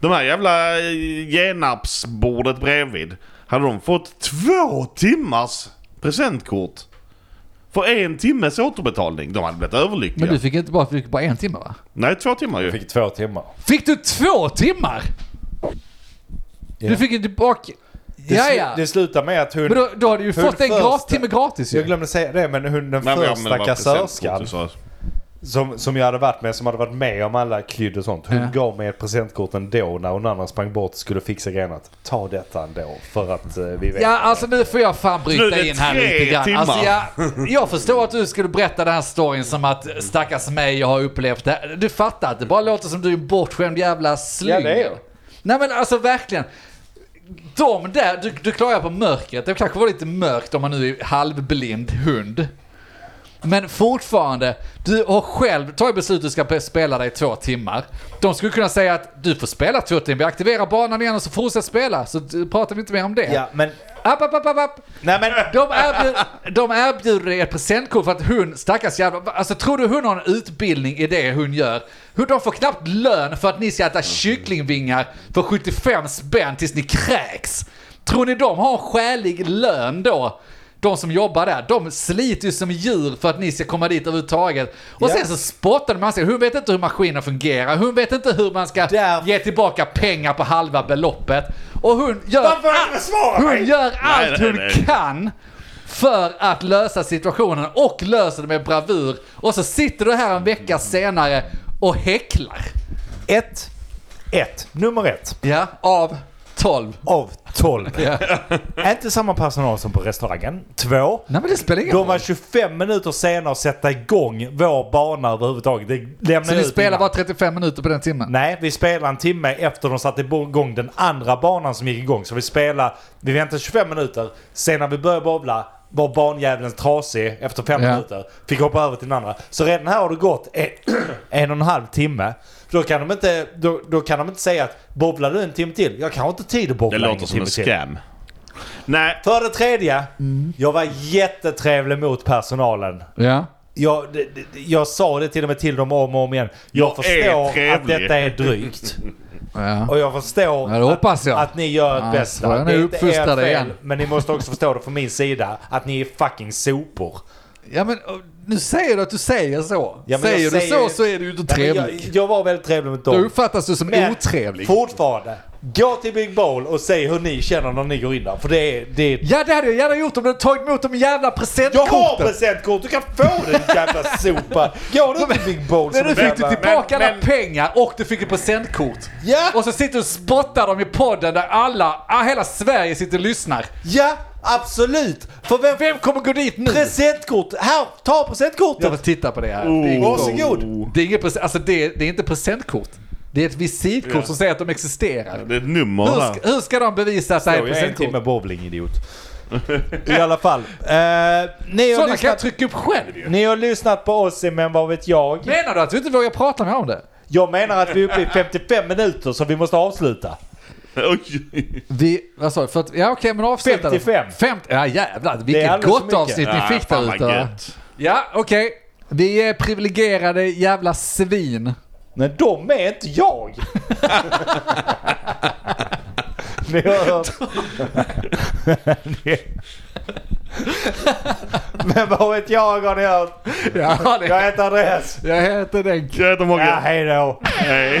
[SPEAKER 3] De här jävla eh, genapsbordet bredvid. Hade de fått två timmars presentkort för en timmes återbetalning, de hade blivit överlyckliga.
[SPEAKER 1] Men du fick inte bara, fick bara en timme va?
[SPEAKER 3] Nej, två timmar ju.
[SPEAKER 2] Fick två timmar.
[SPEAKER 1] Fick du två timmar?
[SPEAKER 2] Ja.
[SPEAKER 1] Du fick ju tillbaka
[SPEAKER 2] Det,
[SPEAKER 1] Ja,
[SPEAKER 2] slu-
[SPEAKER 1] ja.
[SPEAKER 2] det slutar med att hon...
[SPEAKER 1] Men då, då har du ju
[SPEAKER 2] Hur
[SPEAKER 1] fått en
[SPEAKER 2] första-
[SPEAKER 1] gra- timme gratis
[SPEAKER 2] jag
[SPEAKER 1] ju.
[SPEAKER 2] glömde säga det, men hon den
[SPEAKER 3] Nej, men ja, men det
[SPEAKER 2] första
[SPEAKER 3] var presentkort
[SPEAKER 2] kassörskan
[SPEAKER 3] du sa.
[SPEAKER 2] som, som jag hade varit med, som hade varit med om alla krydd och sånt. Hon
[SPEAKER 1] Ja.
[SPEAKER 2] gav mig ett presentkort ändå när hon andra sprang bort och skulle fixa grejerna. Att Ta detta ändå för att eh, vi vet.
[SPEAKER 1] Ja, alltså nu får jag fan
[SPEAKER 3] Nu är
[SPEAKER 1] bryta
[SPEAKER 3] det
[SPEAKER 1] in här
[SPEAKER 3] tre
[SPEAKER 1] lite grann.
[SPEAKER 3] timmar.
[SPEAKER 1] Alltså, jag, jag förstår att du skulle berätta den här storyn som att stackars mig, jag har upplevt det här. Du fattar att det bara låter som du är en bortskämd jävla slyngel.
[SPEAKER 2] Ja, det är jag.
[SPEAKER 1] Nej men alltså verkligen. De där, du, du klagar på mörkret. Det kanske var lite mörkt om man nu är halvblind hund. Men fortfarande, du har själv tagit beslut att du ska spela dig i två timmar. De skulle kunna säga att du får spela två timmar, vi aktiverar banan igen och så fortsätt spela. Så du- pratar vi inte mer om det.
[SPEAKER 2] Ja, men...
[SPEAKER 1] App, app, app, app, app.
[SPEAKER 2] Nej men...
[SPEAKER 1] De, erbjud, de erbjuder dig ett presentkort för att hon, stackars jävla... Alltså tror du hon har en utbildning i det hon gör? Hur de får knappt lön för att ni ska äta kycklingvingar för 75 spänn tills ni kräks. Tror ni de har en skälig lön då? De som jobbar där, de sliter ju som djur för att ni ska komma dit överhuvudtaget. Och
[SPEAKER 2] Ja.
[SPEAKER 1] sen så spottar de massor. Hon vet inte hur maskinen fungerar, hon vet inte hur man ska
[SPEAKER 2] Där-
[SPEAKER 1] ge tillbaka pengar på halva beloppet. Och hon gör...
[SPEAKER 2] Varför har
[SPEAKER 1] Ah!
[SPEAKER 2] du besvarat mig?
[SPEAKER 1] Hon gör allt
[SPEAKER 3] nej,
[SPEAKER 1] hon
[SPEAKER 3] nej.
[SPEAKER 1] kan för att lösa situationen och löser det med bravur. Och så sitter du här en vecka senare och häcklar.
[SPEAKER 2] Ett. Ett. Nummer ett.
[SPEAKER 1] Ja, av 12.
[SPEAKER 2] Av tolv.
[SPEAKER 1] Ja.
[SPEAKER 2] Inte samma personal som på restaurangen. Två.
[SPEAKER 1] Nej men det spelar ingen
[SPEAKER 2] De var
[SPEAKER 1] roll.
[SPEAKER 2] 25 minuter sena att sätta igång vår bana överhuvudtaget. Det lämnade
[SPEAKER 1] Så ni
[SPEAKER 2] ut
[SPEAKER 1] spelar
[SPEAKER 2] innan.
[SPEAKER 1] bara 35 minuter på den timmen?
[SPEAKER 2] Nej, vi spelade en timme efter de satte igång den andra banan som gick igång. Så vi spelade, vi väntade 25 minuter. Sen när vi började bobla var banjäveln trasig efter fem
[SPEAKER 1] Ja.
[SPEAKER 2] minuter. Fick hoppa över till den andra. Så redan här har det gått en, *clears throat* en och en halv timme. Då kan, de inte, då, då kan de inte säga att bobblar du en timme till? Jag kan inte ha tid att bobbla
[SPEAKER 3] Det låter som
[SPEAKER 2] en timme
[SPEAKER 3] en
[SPEAKER 2] till.
[SPEAKER 3] scam. Nej,
[SPEAKER 2] För det tredje,
[SPEAKER 1] Mm.
[SPEAKER 2] jag var jättetrevlig mot personalen.
[SPEAKER 1] Ja.
[SPEAKER 2] Jag, det- det- jag sa det till och med till dem om och om igen. Jag,
[SPEAKER 3] Jag är
[SPEAKER 2] förstår att
[SPEAKER 3] trevlig.
[SPEAKER 2] detta är drygt.
[SPEAKER 1] ja.
[SPEAKER 2] Och jag förstår
[SPEAKER 1] Ja, det hoppas jag.
[SPEAKER 2] Att, att ni gör ert
[SPEAKER 1] Ja, så
[SPEAKER 2] bästa.
[SPEAKER 1] är ni
[SPEAKER 2] Det är inte ert
[SPEAKER 1] uppfostrade
[SPEAKER 2] fel.
[SPEAKER 1] igen.
[SPEAKER 2] Men ni måste också förstå det från min sida. Att ni är fucking sopor.
[SPEAKER 1] Ja men och nu säger du att du säger så.
[SPEAKER 2] Ja, men jag
[SPEAKER 1] säger du
[SPEAKER 2] säger-
[SPEAKER 1] så så är du ju inte
[SPEAKER 2] Nej, men
[SPEAKER 1] trevlig.
[SPEAKER 2] Jag, jag var väldigt trevlig mot
[SPEAKER 1] Då
[SPEAKER 2] dem.
[SPEAKER 1] uppfattas du som
[SPEAKER 2] Men
[SPEAKER 1] otrevlig.
[SPEAKER 2] fortfarande. Gå till Big Bowl och säg hur ni känner när ni går in där. För det är... Det är
[SPEAKER 1] Ja det hade jag gärna gjort om du hade tagit emot de jävla
[SPEAKER 2] jag har
[SPEAKER 1] presentkorten.
[SPEAKER 2] presentkort! Du kan få den jävla *laughs* sopa! Gå nu till Big Bowl
[SPEAKER 1] Men
[SPEAKER 2] som
[SPEAKER 1] nu
[SPEAKER 2] en
[SPEAKER 1] fick du
[SPEAKER 2] jävla-
[SPEAKER 1] tillbaka
[SPEAKER 3] men-
[SPEAKER 1] alla pengar och du fick ett presentkort.
[SPEAKER 2] Ja.
[SPEAKER 1] Och så sitter du och spottar dem i podden där alla, ah, hela Sverige sitter och lyssnar.
[SPEAKER 2] Ja, absolut! För vem...
[SPEAKER 1] Vem kommer gå dit nu?
[SPEAKER 2] Presentkort! Här, ta presentkortet!
[SPEAKER 1] Jag får titta på det här. Det är
[SPEAKER 4] Oh.
[SPEAKER 1] inget-
[SPEAKER 2] Varsågod!
[SPEAKER 1] Det är, inget presen- alltså det, är- det är inte presentkort. Det är ett visitkort
[SPEAKER 3] Ja.
[SPEAKER 1] som säger att de existerar.
[SPEAKER 3] det är ett nummer
[SPEAKER 1] Hur
[SPEAKER 3] här.
[SPEAKER 4] *laughs*
[SPEAKER 1] ska, hur ska de bevisa att det här är
[SPEAKER 2] Jag är en timme
[SPEAKER 1] presentkort?
[SPEAKER 2] bowling, idiot. *laughs* I alla fall. Eh, ni, har
[SPEAKER 1] Sådana kan jag
[SPEAKER 2] lyssnat,
[SPEAKER 1] trycka upp själv ju.
[SPEAKER 2] ni har lyssnat på oss i Men vad vet jag?
[SPEAKER 1] Menar du att du inte vågar prata med om det?
[SPEAKER 2] Jag menar att vi är uppe i 55 minuter så vi måste avsluta.
[SPEAKER 3] Oj.
[SPEAKER 1] Vi, vad sa du? För att, ja okej men avsluta då.
[SPEAKER 2] 55.
[SPEAKER 1] 50, ja jävlar
[SPEAKER 2] Det är
[SPEAKER 1] vilket
[SPEAKER 2] alldeles för
[SPEAKER 1] gott
[SPEAKER 2] mycket. Ah,
[SPEAKER 1] avsnitt
[SPEAKER 4] Ah,
[SPEAKER 3] Ja,
[SPEAKER 1] ni fick
[SPEAKER 3] fan
[SPEAKER 1] där
[SPEAKER 3] vad
[SPEAKER 1] ute. va?
[SPEAKER 3] gött.
[SPEAKER 1] Ja okej. Vi är privilegierade jävla svin.
[SPEAKER 2] Men de är inte jag! *laughs* ni har hört... *laughs* Men vad vet jag har ni hört?
[SPEAKER 1] Ja,
[SPEAKER 2] Jag
[SPEAKER 1] det,
[SPEAKER 2] heter Andreas.
[SPEAKER 1] jag heter Denk.
[SPEAKER 3] Jag heter
[SPEAKER 2] Ja,
[SPEAKER 3] Mogge.
[SPEAKER 2] hej då.
[SPEAKER 3] Hej.